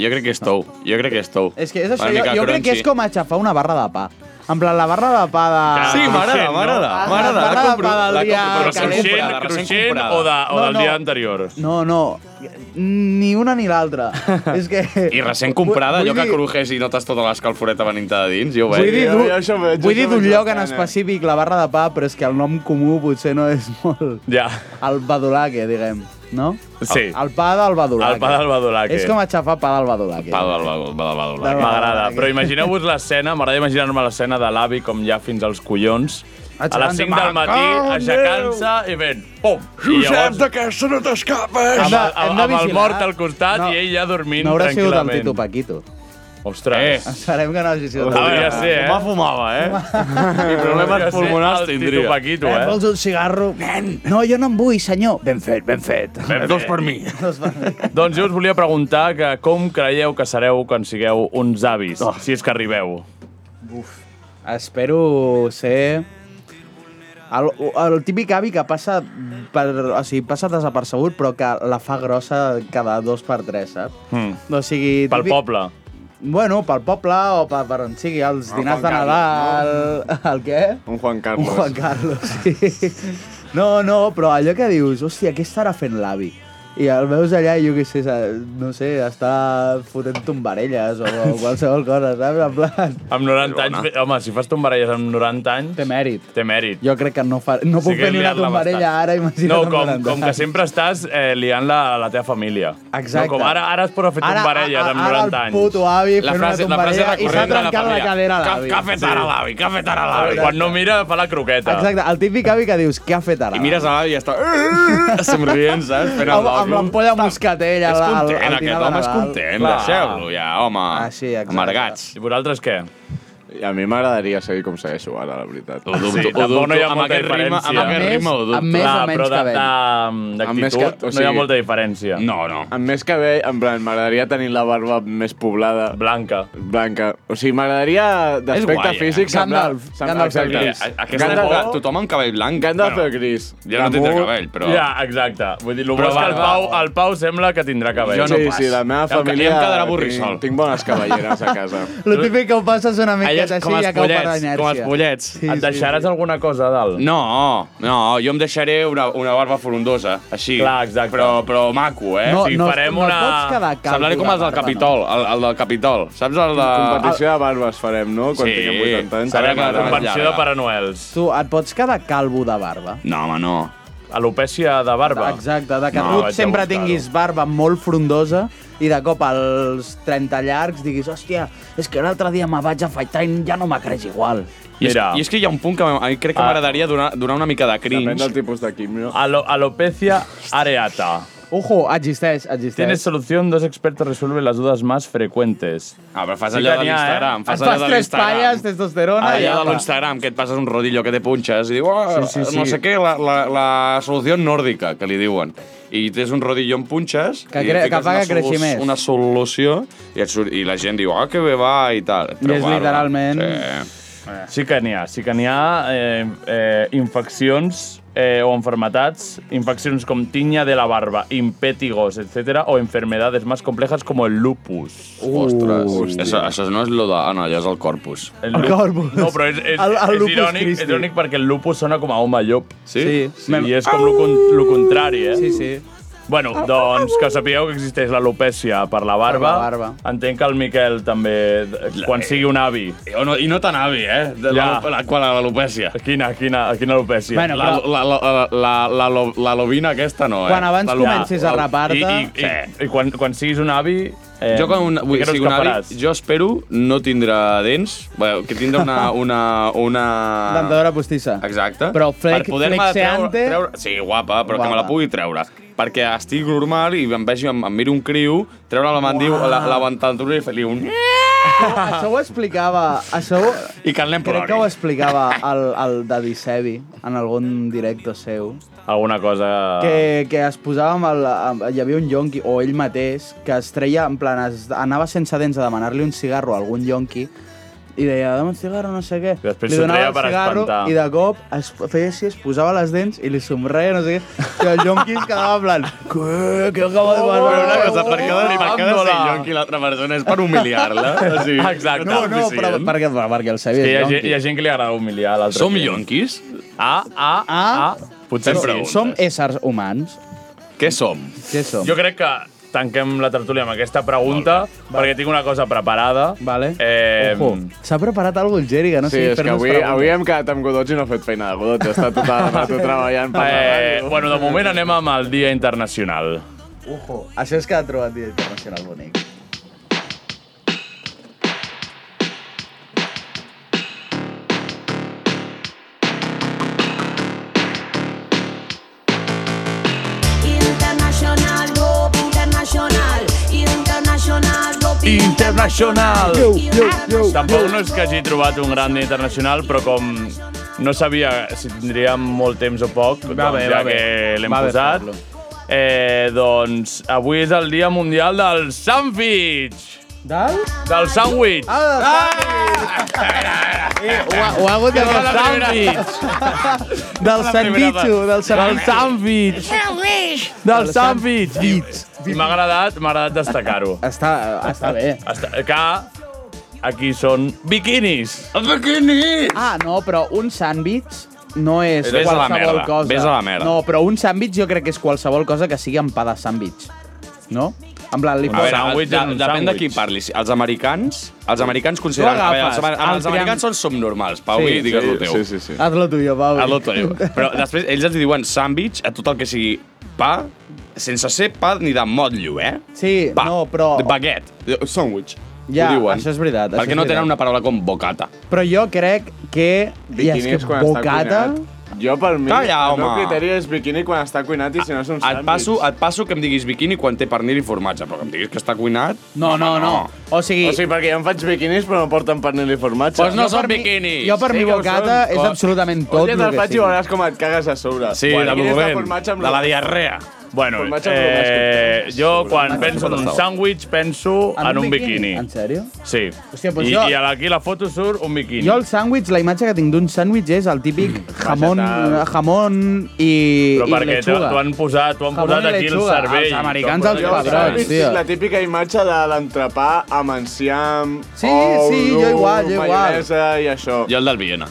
[SPEAKER 9] Jo crec que és tou. Jo crec que és tou.
[SPEAKER 8] és que és això,
[SPEAKER 9] Una
[SPEAKER 8] jo,
[SPEAKER 9] mica
[SPEAKER 8] jo crec que és
[SPEAKER 9] crunchy.
[SPEAKER 8] com aixafar una barra de pa. En plan, la barra de pa de...
[SPEAKER 9] Sí, m'agrada,
[SPEAKER 2] Cruixent, no?
[SPEAKER 9] m'agrada,
[SPEAKER 8] Ah,
[SPEAKER 9] m'agrada.
[SPEAKER 8] m'agrada
[SPEAKER 9] La compro,
[SPEAKER 8] pa del
[SPEAKER 9] la
[SPEAKER 8] dia
[SPEAKER 9] compro, però s'ha
[SPEAKER 8] calent.
[SPEAKER 2] Cruixent,
[SPEAKER 9] comprat, recent
[SPEAKER 2] cruixent o, de,
[SPEAKER 9] comprada.
[SPEAKER 2] o
[SPEAKER 8] No,
[SPEAKER 2] del
[SPEAKER 8] no.
[SPEAKER 2] dia anterior.
[SPEAKER 8] No, no, ni una ni l'altra. és que...
[SPEAKER 9] I recent comprada,
[SPEAKER 8] Vull
[SPEAKER 9] allò que
[SPEAKER 8] dir-
[SPEAKER 9] crujes i notes tota l'escalforeta venint-te de dins, jo ho
[SPEAKER 8] Vull
[SPEAKER 9] veig.
[SPEAKER 8] dir,
[SPEAKER 7] jo-
[SPEAKER 8] du,
[SPEAKER 7] jo això ho veig,
[SPEAKER 8] vull
[SPEAKER 7] jo
[SPEAKER 8] dir
[SPEAKER 7] això
[SPEAKER 8] d'un
[SPEAKER 7] ho veig
[SPEAKER 8] lloc en
[SPEAKER 7] bastant, eh?
[SPEAKER 8] específic, la barra de pa, però és que el nom comú potser no és molt...
[SPEAKER 2] Ja.
[SPEAKER 8] El badulaque, diguem, no?
[SPEAKER 2] Sí.
[SPEAKER 8] El pa del badulaque.
[SPEAKER 2] El pa del badulaque.
[SPEAKER 8] És com aixafar pa del badulaque.
[SPEAKER 9] Va, va, va, va, va, va.
[SPEAKER 2] M'agrada, però imagineu-vos l'escena, m'agrada imaginar-me l'escena de l'avi com ja fins als collons, a les 5 del matí, aixecant-se i fent pum! I llavors,
[SPEAKER 7] d'aquesta no t'escapes!
[SPEAKER 2] amb, el-
[SPEAKER 8] Hem
[SPEAKER 2] amb,
[SPEAKER 8] de
[SPEAKER 2] amb el
[SPEAKER 8] vigilar.
[SPEAKER 2] mort al costat
[SPEAKER 8] No.
[SPEAKER 2] i ell ja dormint
[SPEAKER 8] No haurà sigut el
[SPEAKER 2] tranquil·lament.
[SPEAKER 8] Tito Paquito.
[SPEAKER 2] Ostres. Eh.
[SPEAKER 8] Esperem que no hagi sigut el Tito
[SPEAKER 2] Podria ser, eh?
[SPEAKER 9] Home fumava, eh? I problemes
[SPEAKER 2] Podria ser
[SPEAKER 9] pulmonars
[SPEAKER 2] el Tito
[SPEAKER 9] tindria.
[SPEAKER 2] Paquito, eh?
[SPEAKER 8] Vols un cigarro? Nen. No, jo no en vull, senyor. Ben fet, ben fet.
[SPEAKER 9] Dos per mi.
[SPEAKER 2] Doncs jo us volia preguntar que com creieu que sereu quan sigueu uns avis, si és que arribeu.
[SPEAKER 8] Espero ser El, el típic avi que passa, per, o sigui, passa desapercebut, però que la fa grossa cada dos per tres, saps?
[SPEAKER 7] Hmm.
[SPEAKER 2] Mm.
[SPEAKER 8] O sigui,
[SPEAKER 2] Pel poble.
[SPEAKER 8] Bueno, pel poble o per, per on sigui, els
[SPEAKER 7] Ah,
[SPEAKER 8] dinars de
[SPEAKER 7] Juan
[SPEAKER 8] Nadal... El què?
[SPEAKER 7] Un Juan Carlos.
[SPEAKER 8] Un Juan Carlos, sí. No, no, però allò que dius, hòstia, què estarà fent l'avi? I el veus allà i jo què sé, sa- no sé, està fotent tombarelles o, o qualsevol cosa, saps? En plan,
[SPEAKER 2] Amb 90 anys... bé, Home, si fas tombarelles amb 90 anys...
[SPEAKER 8] té mèrit.
[SPEAKER 2] Té mèrit.
[SPEAKER 8] Jo crec que no, fa, no puc
[SPEAKER 2] Sí que
[SPEAKER 8] fer ni una
[SPEAKER 2] liar-la
[SPEAKER 8] tombarella
[SPEAKER 2] bastant.
[SPEAKER 8] ara, imagina't.
[SPEAKER 2] No,
[SPEAKER 8] amb
[SPEAKER 2] com,
[SPEAKER 8] 90
[SPEAKER 2] com que
[SPEAKER 8] anys.
[SPEAKER 2] sempre estàs eh, liant-la a la teva família.
[SPEAKER 8] Exacte.
[SPEAKER 2] No, com ara, ara es posa a fer tombarelles amb 90
[SPEAKER 8] Ara el
[SPEAKER 2] anys.
[SPEAKER 8] puto avi
[SPEAKER 9] La
[SPEAKER 8] fent
[SPEAKER 9] frase,
[SPEAKER 8] una
[SPEAKER 9] la frase
[SPEAKER 8] tombarella i s'ha
[SPEAKER 9] recurrent de la
[SPEAKER 8] trencat la,
[SPEAKER 9] família.
[SPEAKER 8] cadera a l'avi.
[SPEAKER 9] Què ha fet ara l'avi? Què ha fet ara l'avi?
[SPEAKER 2] Ah, Quan no mira, fa la croqueta.
[SPEAKER 8] Exacte, el típic avi que dius, què ha fet ara?
[SPEAKER 9] I mires a l'avi i està... "Eh", Somrient, saps? Fent el
[SPEAKER 8] amb, amb
[SPEAKER 9] lòbio.
[SPEAKER 8] l'ampolla moscatella.
[SPEAKER 9] És
[SPEAKER 8] al- al-
[SPEAKER 9] content,
[SPEAKER 8] al
[SPEAKER 9] aquest
[SPEAKER 8] dinar de
[SPEAKER 9] home és
[SPEAKER 8] Nadal.
[SPEAKER 9] content.
[SPEAKER 2] Clar.
[SPEAKER 9] Deixeu-lo ja, home.
[SPEAKER 8] Ah, sí, exacte.
[SPEAKER 9] Amargats.
[SPEAKER 2] I vosaltres què?
[SPEAKER 7] I a mi m'agradaria seguir com segueixo ara, la veritat.
[SPEAKER 9] Ho dubto,
[SPEAKER 2] Sí,
[SPEAKER 9] ho
[SPEAKER 2] tampoc
[SPEAKER 9] dubto.
[SPEAKER 2] no hi ha
[SPEAKER 9] amb
[SPEAKER 2] molta
[SPEAKER 9] aquest ritme,
[SPEAKER 2] diferència.
[SPEAKER 9] amb aquest
[SPEAKER 8] Amb
[SPEAKER 9] ritme ho
[SPEAKER 8] més-
[SPEAKER 9] dubto.
[SPEAKER 8] amb més
[SPEAKER 2] Clar,
[SPEAKER 8] o menys
[SPEAKER 2] però de-
[SPEAKER 8] cabell.
[SPEAKER 2] de-
[SPEAKER 7] Amb més
[SPEAKER 2] D'actitud
[SPEAKER 7] que- o
[SPEAKER 2] no hi ha
[SPEAKER 7] sigui-
[SPEAKER 2] molta diferència.
[SPEAKER 9] No, no.
[SPEAKER 7] Amb més cabell, en plan, m'agradaria tenir la barba més poblada,
[SPEAKER 2] Blanca.
[SPEAKER 7] blanca. O sigui, m'agradaria d'aspecte
[SPEAKER 9] guai, eh?
[SPEAKER 7] físic...
[SPEAKER 8] Gandalf.
[SPEAKER 7] semblar- semblar-
[SPEAKER 8] Gandalf el
[SPEAKER 7] exacte.
[SPEAKER 9] Mira,
[SPEAKER 8] gris.
[SPEAKER 9] a- Aquesta
[SPEAKER 7] Gandalf-
[SPEAKER 9] època, tothom amb cabell blanc...
[SPEAKER 7] Gandalf el
[SPEAKER 9] bueno,
[SPEAKER 7] gris.
[SPEAKER 9] Ja no tindrà
[SPEAKER 7] Damunt-
[SPEAKER 9] cabell, però...
[SPEAKER 2] Ja, exacte. Vull dir, el bo
[SPEAKER 9] Però
[SPEAKER 2] és que el
[SPEAKER 9] barba-
[SPEAKER 2] Pau, el Pau sembla que tindrà cabell.
[SPEAKER 9] Jo no
[SPEAKER 7] sí,
[SPEAKER 9] pas.
[SPEAKER 7] sí, la meva
[SPEAKER 9] Ja em-
[SPEAKER 7] família...
[SPEAKER 9] ja em quedarà
[SPEAKER 7] tinc-
[SPEAKER 9] borrissol.
[SPEAKER 7] Tinc bones cavalleres a casa.
[SPEAKER 8] Lo típic que ho passes una
[SPEAKER 9] Ella
[SPEAKER 8] miqueta
[SPEAKER 9] és
[SPEAKER 8] així
[SPEAKER 9] com
[SPEAKER 8] i
[SPEAKER 9] els
[SPEAKER 8] acaba per la
[SPEAKER 9] pollets,
[SPEAKER 8] inèrcia.
[SPEAKER 9] com els pollets.
[SPEAKER 8] Sí,
[SPEAKER 2] Et deixaràs
[SPEAKER 8] sí,
[SPEAKER 2] alguna cosa a dalt?
[SPEAKER 9] No, no, jo em deixaré una, una barba frondosa, així.
[SPEAKER 2] Clar, exacte.
[SPEAKER 9] Però, però maco, eh?
[SPEAKER 8] No,
[SPEAKER 9] o sigui,
[SPEAKER 8] no,
[SPEAKER 9] farem
[SPEAKER 8] no et
[SPEAKER 9] una...
[SPEAKER 8] pots quedar calvo
[SPEAKER 9] Semblaré com
[SPEAKER 8] de
[SPEAKER 9] els del
[SPEAKER 8] barba, no.
[SPEAKER 9] Capitol, el, el del Capitol. Saps el de...
[SPEAKER 7] Competició de barbes farem, no? Quan
[SPEAKER 9] Sí.
[SPEAKER 7] tinguem 80 anys.
[SPEAKER 9] Sabrem
[SPEAKER 2] Farem la
[SPEAKER 9] Llarga,
[SPEAKER 2] convenció de
[SPEAKER 9] llarga.
[SPEAKER 2] Pare Noels.
[SPEAKER 8] Tu et pots quedar calvo de barba.
[SPEAKER 9] No, home, no.
[SPEAKER 2] Alopècia de barba.
[SPEAKER 8] Exacte, de que
[SPEAKER 2] No, vaig
[SPEAKER 8] tu sempre
[SPEAKER 2] buscar-ho.
[SPEAKER 8] tinguis barba molt frondosa i de cop als 30 llargs diguis hòstia, és que l'altre dia me vaig afaitar i ja no me creix igual.
[SPEAKER 9] I és,
[SPEAKER 2] Mira.
[SPEAKER 9] I és que hi ha un punt que a mi crec que
[SPEAKER 2] Ah.
[SPEAKER 9] m'agradaria donar, donar una mica de
[SPEAKER 7] Depèn
[SPEAKER 9] cringe.
[SPEAKER 7] del tipus de quimio.
[SPEAKER 2] Alo- alopecia areata.
[SPEAKER 8] Ojo, existeix, existeix.
[SPEAKER 2] Tienes solución, dos expertos resuelven las dudas más frecuentes.
[SPEAKER 9] Ah, però fas
[SPEAKER 2] Sí
[SPEAKER 9] allò
[SPEAKER 2] que
[SPEAKER 9] de
[SPEAKER 2] n'hi ha, eh?
[SPEAKER 9] l'Instagram.
[SPEAKER 8] Et
[SPEAKER 9] Fas
[SPEAKER 8] fas
[SPEAKER 9] allò de
[SPEAKER 8] tres palles,
[SPEAKER 9] l'Instagram.
[SPEAKER 8] testosterona...
[SPEAKER 2] Ah,
[SPEAKER 8] i
[SPEAKER 9] Allò de
[SPEAKER 8] apa.
[SPEAKER 9] l'Instagram, que et passes un rodillo que te punxes i diu, oh,
[SPEAKER 2] Sí, sí,
[SPEAKER 9] no
[SPEAKER 2] sí.
[SPEAKER 9] sé què, la, la, la solució nòrdica, que li diuen. I tens un rodillo en punxes
[SPEAKER 8] Que
[SPEAKER 9] i
[SPEAKER 8] cre-
[SPEAKER 9] fiques
[SPEAKER 8] que fa
[SPEAKER 9] una
[SPEAKER 8] que creixi
[SPEAKER 9] solu-
[SPEAKER 8] més.
[SPEAKER 9] una solució i, et surt, i la gent diu, ah, que bé va i tal.
[SPEAKER 8] I és
[SPEAKER 9] barba.
[SPEAKER 8] literalment-
[SPEAKER 9] Sí.
[SPEAKER 2] Sí que n'hi ha, sí que n'hi ha eh, eh, infeccions eh, o enfermedades, infeccions com tiña de la barba, impétigos, etcétera, o enfermedades más complejas como el lupus.
[SPEAKER 9] Ostres. Això, això no és lo de... Ah, no, allò és el corpus.
[SPEAKER 2] El,
[SPEAKER 8] El
[SPEAKER 2] lu-
[SPEAKER 8] corpus.
[SPEAKER 2] No, però és, és,
[SPEAKER 8] El- el
[SPEAKER 2] és,
[SPEAKER 8] lupus
[SPEAKER 2] irònic, és
[SPEAKER 8] Christi.
[SPEAKER 2] irònic perquè el lupus sona com a home llop.
[SPEAKER 9] Sí?
[SPEAKER 2] Sí, I és com lo, con, lo contrari, eh?
[SPEAKER 8] Sí, sí.
[SPEAKER 2] Bueno,
[SPEAKER 9] Ah,
[SPEAKER 2] doncs que sapigueu que existeix l'alopècia per la barba.
[SPEAKER 8] Per la barba.
[SPEAKER 2] Entenc que el Miquel també, d- quan sigui un avi.
[SPEAKER 9] I, no, i no tan avi, eh? De
[SPEAKER 2] Ja.
[SPEAKER 9] la, la, qual, l'alopècia.
[SPEAKER 2] Quina, quina, quina alopècia.
[SPEAKER 8] Bueno,
[SPEAKER 9] La, la, la, la, la, la, lo- la lobina aquesta no, eh?
[SPEAKER 8] Quan abans
[SPEAKER 9] La lo-
[SPEAKER 8] comencis a
[SPEAKER 9] la-
[SPEAKER 8] rapar-te-
[SPEAKER 2] I, i, i, i quan, quan siguis un avi... Eh,
[SPEAKER 9] Jo quan un, vull,
[SPEAKER 2] que no
[SPEAKER 9] sigui un
[SPEAKER 2] escaparàs.
[SPEAKER 9] avi, jo espero no tindrà dents, bueno, que tindrà una... una, una...
[SPEAKER 2] Ah.
[SPEAKER 8] Dentadora postissa.
[SPEAKER 9] Exacte.
[SPEAKER 8] Però flec-
[SPEAKER 9] per poder-me
[SPEAKER 8] flexeante-
[SPEAKER 9] treure, treure, Sí, guapa, però que me la
[SPEAKER 8] Guapa.
[SPEAKER 9] pugui treure. Perquè estic normal i em vegi, em, em miro un criu, treure la mandiu, la, la ventadura i fer-li un...
[SPEAKER 8] Això ho explicava... Això ho...
[SPEAKER 9] I que el nen
[SPEAKER 8] Crec
[SPEAKER 9] plori.
[SPEAKER 8] que ho explicava el, el Daddy Sebi en algun directo seu.
[SPEAKER 2] Alguna cosa...
[SPEAKER 8] Que, que es posava amb el... Amb, hi havia un yonqui, o ell mateix, que es treia, en plan, es, anava sense dents a demanar-li un cigarro a algun yonqui i deia, dame un cigarro, no sé què.
[SPEAKER 2] I després
[SPEAKER 8] li
[SPEAKER 2] s'ho
[SPEAKER 8] donava
[SPEAKER 2] treia
[SPEAKER 8] el
[SPEAKER 2] per
[SPEAKER 8] cigarro
[SPEAKER 2] espantar.
[SPEAKER 8] i de cop es feia així, es posava les dents i li somreia, no sé què. I el yonqui es quedava en plan, què, què acaba
[SPEAKER 2] Oh,
[SPEAKER 8] de demanar?
[SPEAKER 9] Però una cosa, per cada, per cada
[SPEAKER 2] Amándola.
[SPEAKER 9] ser jo qui l'altra persona és per humiliar-la. O sigui,
[SPEAKER 2] Exacte.
[SPEAKER 8] No, no, però
[SPEAKER 9] suficient.
[SPEAKER 8] perquè, perquè el
[SPEAKER 2] eh?
[SPEAKER 8] Sebi
[SPEAKER 2] Que hi, ha,
[SPEAKER 8] és
[SPEAKER 2] gent-
[SPEAKER 8] yonqui.
[SPEAKER 2] hi ha gent que li agrada humiliar a l'altre.
[SPEAKER 9] Som
[SPEAKER 2] client.
[SPEAKER 9] yonquis?
[SPEAKER 2] Ah, ah, ah.
[SPEAKER 8] Ah.
[SPEAKER 2] ah. Potser
[SPEAKER 9] Sempre
[SPEAKER 2] sí.
[SPEAKER 9] un.
[SPEAKER 8] Som éssers humans.
[SPEAKER 9] Què som?
[SPEAKER 8] Què som?
[SPEAKER 2] Jo crec que tanquem la tertúlia amb aquesta pregunta, perquè tinc una cosa preparada.
[SPEAKER 8] Vale.
[SPEAKER 2] Eh,
[SPEAKER 8] Ojo, s'ha preparat alguna cosa el Geri, que no
[SPEAKER 7] Sí,
[SPEAKER 8] sigui
[SPEAKER 7] és que
[SPEAKER 8] fer-nos
[SPEAKER 7] avui,
[SPEAKER 8] preguntes.
[SPEAKER 7] avui hem quedat amb Godots i no ha fet feina de Godots. Està tota la nata treballant per la
[SPEAKER 2] Eh,
[SPEAKER 7] ràdio.
[SPEAKER 2] bueno, de moment anem amb el Dia Internacional.
[SPEAKER 8] Ojo, això és que ha trobat Dia Internacional bonic.
[SPEAKER 10] Internacional, go, internacional, internacional, go,
[SPEAKER 2] Internacional!
[SPEAKER 8] Yo, yo, yo,
[SPEAKER 2] Tampoc no és que hagi trobat un gran dia internacional, però com no sabia si tindríem molt temps o poc, doncs
[SPEAKER 8] bé,
[SPEAKER 2] ja
[SPEAKER 8] va bé.
[SPEAKER 2] que l'hem
[SPEAKER 8] Va bé
[SPEAKER 2] posat,
[SPEAKER 8] fer-lo.
[SPEAKER 2] eh, doncs avui és el dia mundial del sandwich!
[SPEAKER 8] Dalt?
[SPEAKER 2] Del sandwich!
[SPEAKER 8] Ah, ah! I Ah! ho, ha- ho ha hagut de
[SPEAKER 2] No, la primera.
[SPEAKER 8] Del
[SPEAKER 2] La primera
[SPEAKER 8] sandvitxo,
[SPEAKER 2] vegada.
[SPEAKER 8] del
[SPEAKER 2] Del sàndwich. Del sàndwich. I M'ha agradat, m'ha agradat destacar-ho.
[SPEAKER 8] Està, està bé.
[SPEAKER 2] Està, que aquí són biquinis. Els biquinis!
[SPEAKER 8] Ah, no, però un sàndwich no és
[SPEAKER 2] Vés a la
[SPEAKER 8] qualsevol
[SPEAKER 2] merda,
[SPEAKER 8] cosa.
[SPEAKER 2] vés a la merda.
[SPEAKER 8] No, però un sàndwich jo crec que és qualsevol cosa que sigui amb pa de sàndwich. No? En plan, li
[SPEAKER 9] A veure,
[SPEAKER 8] poses-
[SPEAKER 9] de, depèn de qui parlis. Els americans, els americans consideren...
[SPEAKER 8] Tu
[SPEAKER 9] A veure, els,
[SPEAKER 8] agafes Ah,
[SPEAKER 9] amer-
[SPEAKER 8] el
[SPEAKER 9] els
[SPEAKER 8] triangle.
[SPEAKER 9] americans són subnormals, Pau,
[SPEAKER 8] Sí,
[SPEAKER 9] i digues
[SPEAKER 8] sí,
[SPEAKER 9] el teu.
[SPEAKER 8] sí, sí, sí. Haz lo tuyo, Pau.
[SPEAKER 9] Haz lo tuyo. Però després ells ens diuen sàndwich a tot el que sigui pa, sense ser pa ni de motllo, eh?
[SPEAKER 8] Sí,
[SPEAKER 9] pa.
[SPEAKER 8] no, però-
[SPEAKER 2] Oh.
[SPEAKER 9] De baguette. De- Sandwich.
[SPEAKER 8] Ja,
[SPEAKER 9] ho diuen.
[SPEAKER 8] això és veritat, això
[SPEAKER 9] Perquè
[SPEAKER 8] és
[SPEAKER 9] no
[SPEAKER 8] veritat.
[SPEAKER 9] tenen una paraula com bocata.
[SPEAKER 8] Però jo crec que... I és que bocata...
[SPEAKER 7] Jo, per mi,
[SPEAKER 9] Calla,
[SPEAKER 7] el meu
[SPEAKER 9] home.
[SPEAKER 7] criteri és biquini quan està cuinat i si no és un
[SPEAKER 9] Et
[SPEAKER 7] sàndwich.
[SPEAKER 9] passo, et passo que em diguis biquini quan té pernil i formatge, però que em diguis que està cuinat...
[SPEAKER 8] No, no, no. O sigui...
[SPEAKER 7] O sigui, perquè jo em faig biquinis però no porten pernil i formatge.
[SPEAKER 9] Doncs no Jo són per mi- biquinis.
[SPEAKER 8] jo per mi bocata és absolutament tot
[SPEAKER 7] Oye,
[SPEAKER 8] lo
[SPEAKER 7] te'l
[SPEAKER 8] que
[SPEAKER 7] faig
[SPEAKER 8] sigui.
[SPEAKER 7] i veuràs com et cagues a sobre.
[SPEAKER 2] Sí, de
[SPEAKER 7] biquinis
[SPEAKER 2] dolent,
[SPEAKER 7] formatge amb
[SPEAKER 2] de la
[SPEAKER 7] lo-
[SPEAKER 2] diarrea. Bueno,
[SPEAKER 7] Formatge amb
[SPEAKER 2] eh, jo quan penso en un
[SPEAKER 7] Sobre.
[SPEAKER 2] sàndwich penso en un biquini.
[SPEAKER 8] En sèrio?
[SPEAKER 2] Sí.
[SPEAKER 8] Hòstia, doncs
[SPEAKER 2] I,
[SPEAKER 8] jo-
[SPEAKER 2] I a la- aquí la foto surt un biquini.
[SPEAKER 8] Jo el sàndwich, la imatge que tinc d'un sàndwich és el típic jamón,
[SPEAKER 2] Mm, vegetal.
[SPEAKER 8] jamon i,
[SPEAKER 2] Però
[SPEAKER 8] i
[SPEAKER 2] perquè t'ho
[SPEAKER 8] lechuga.
[SPEAKER 2] t'ho han posat, t'ho han
[SPEAKER 8] Jamón
[SPEAKER 2] posat
[SPEAKER 8] i
[SPEAKER 2] aquí el
[SPEAKER 8] lechuga.
[SPEAKER 2] cervell.
[SPEAKER 8] Els americans els
[SPEAKER 7] Jo,
[SPEAKER 8] padrons,
[SPEAKER 7] és
[SPEAKER 8] tio.
[SPEAKER 7] La típica imatge de l'entrepà amb enciam,
[SPEAKER 8] Sí,
[SPEAKER 7] ou,
[SPEAKER 8] sí,
[SPEAKER 7] llum,
[SPEAKER 8] jo igual, jo igual.
[SPEAKER 7] maionesa i això.
[SPEAKER 9] Jo el del Viena.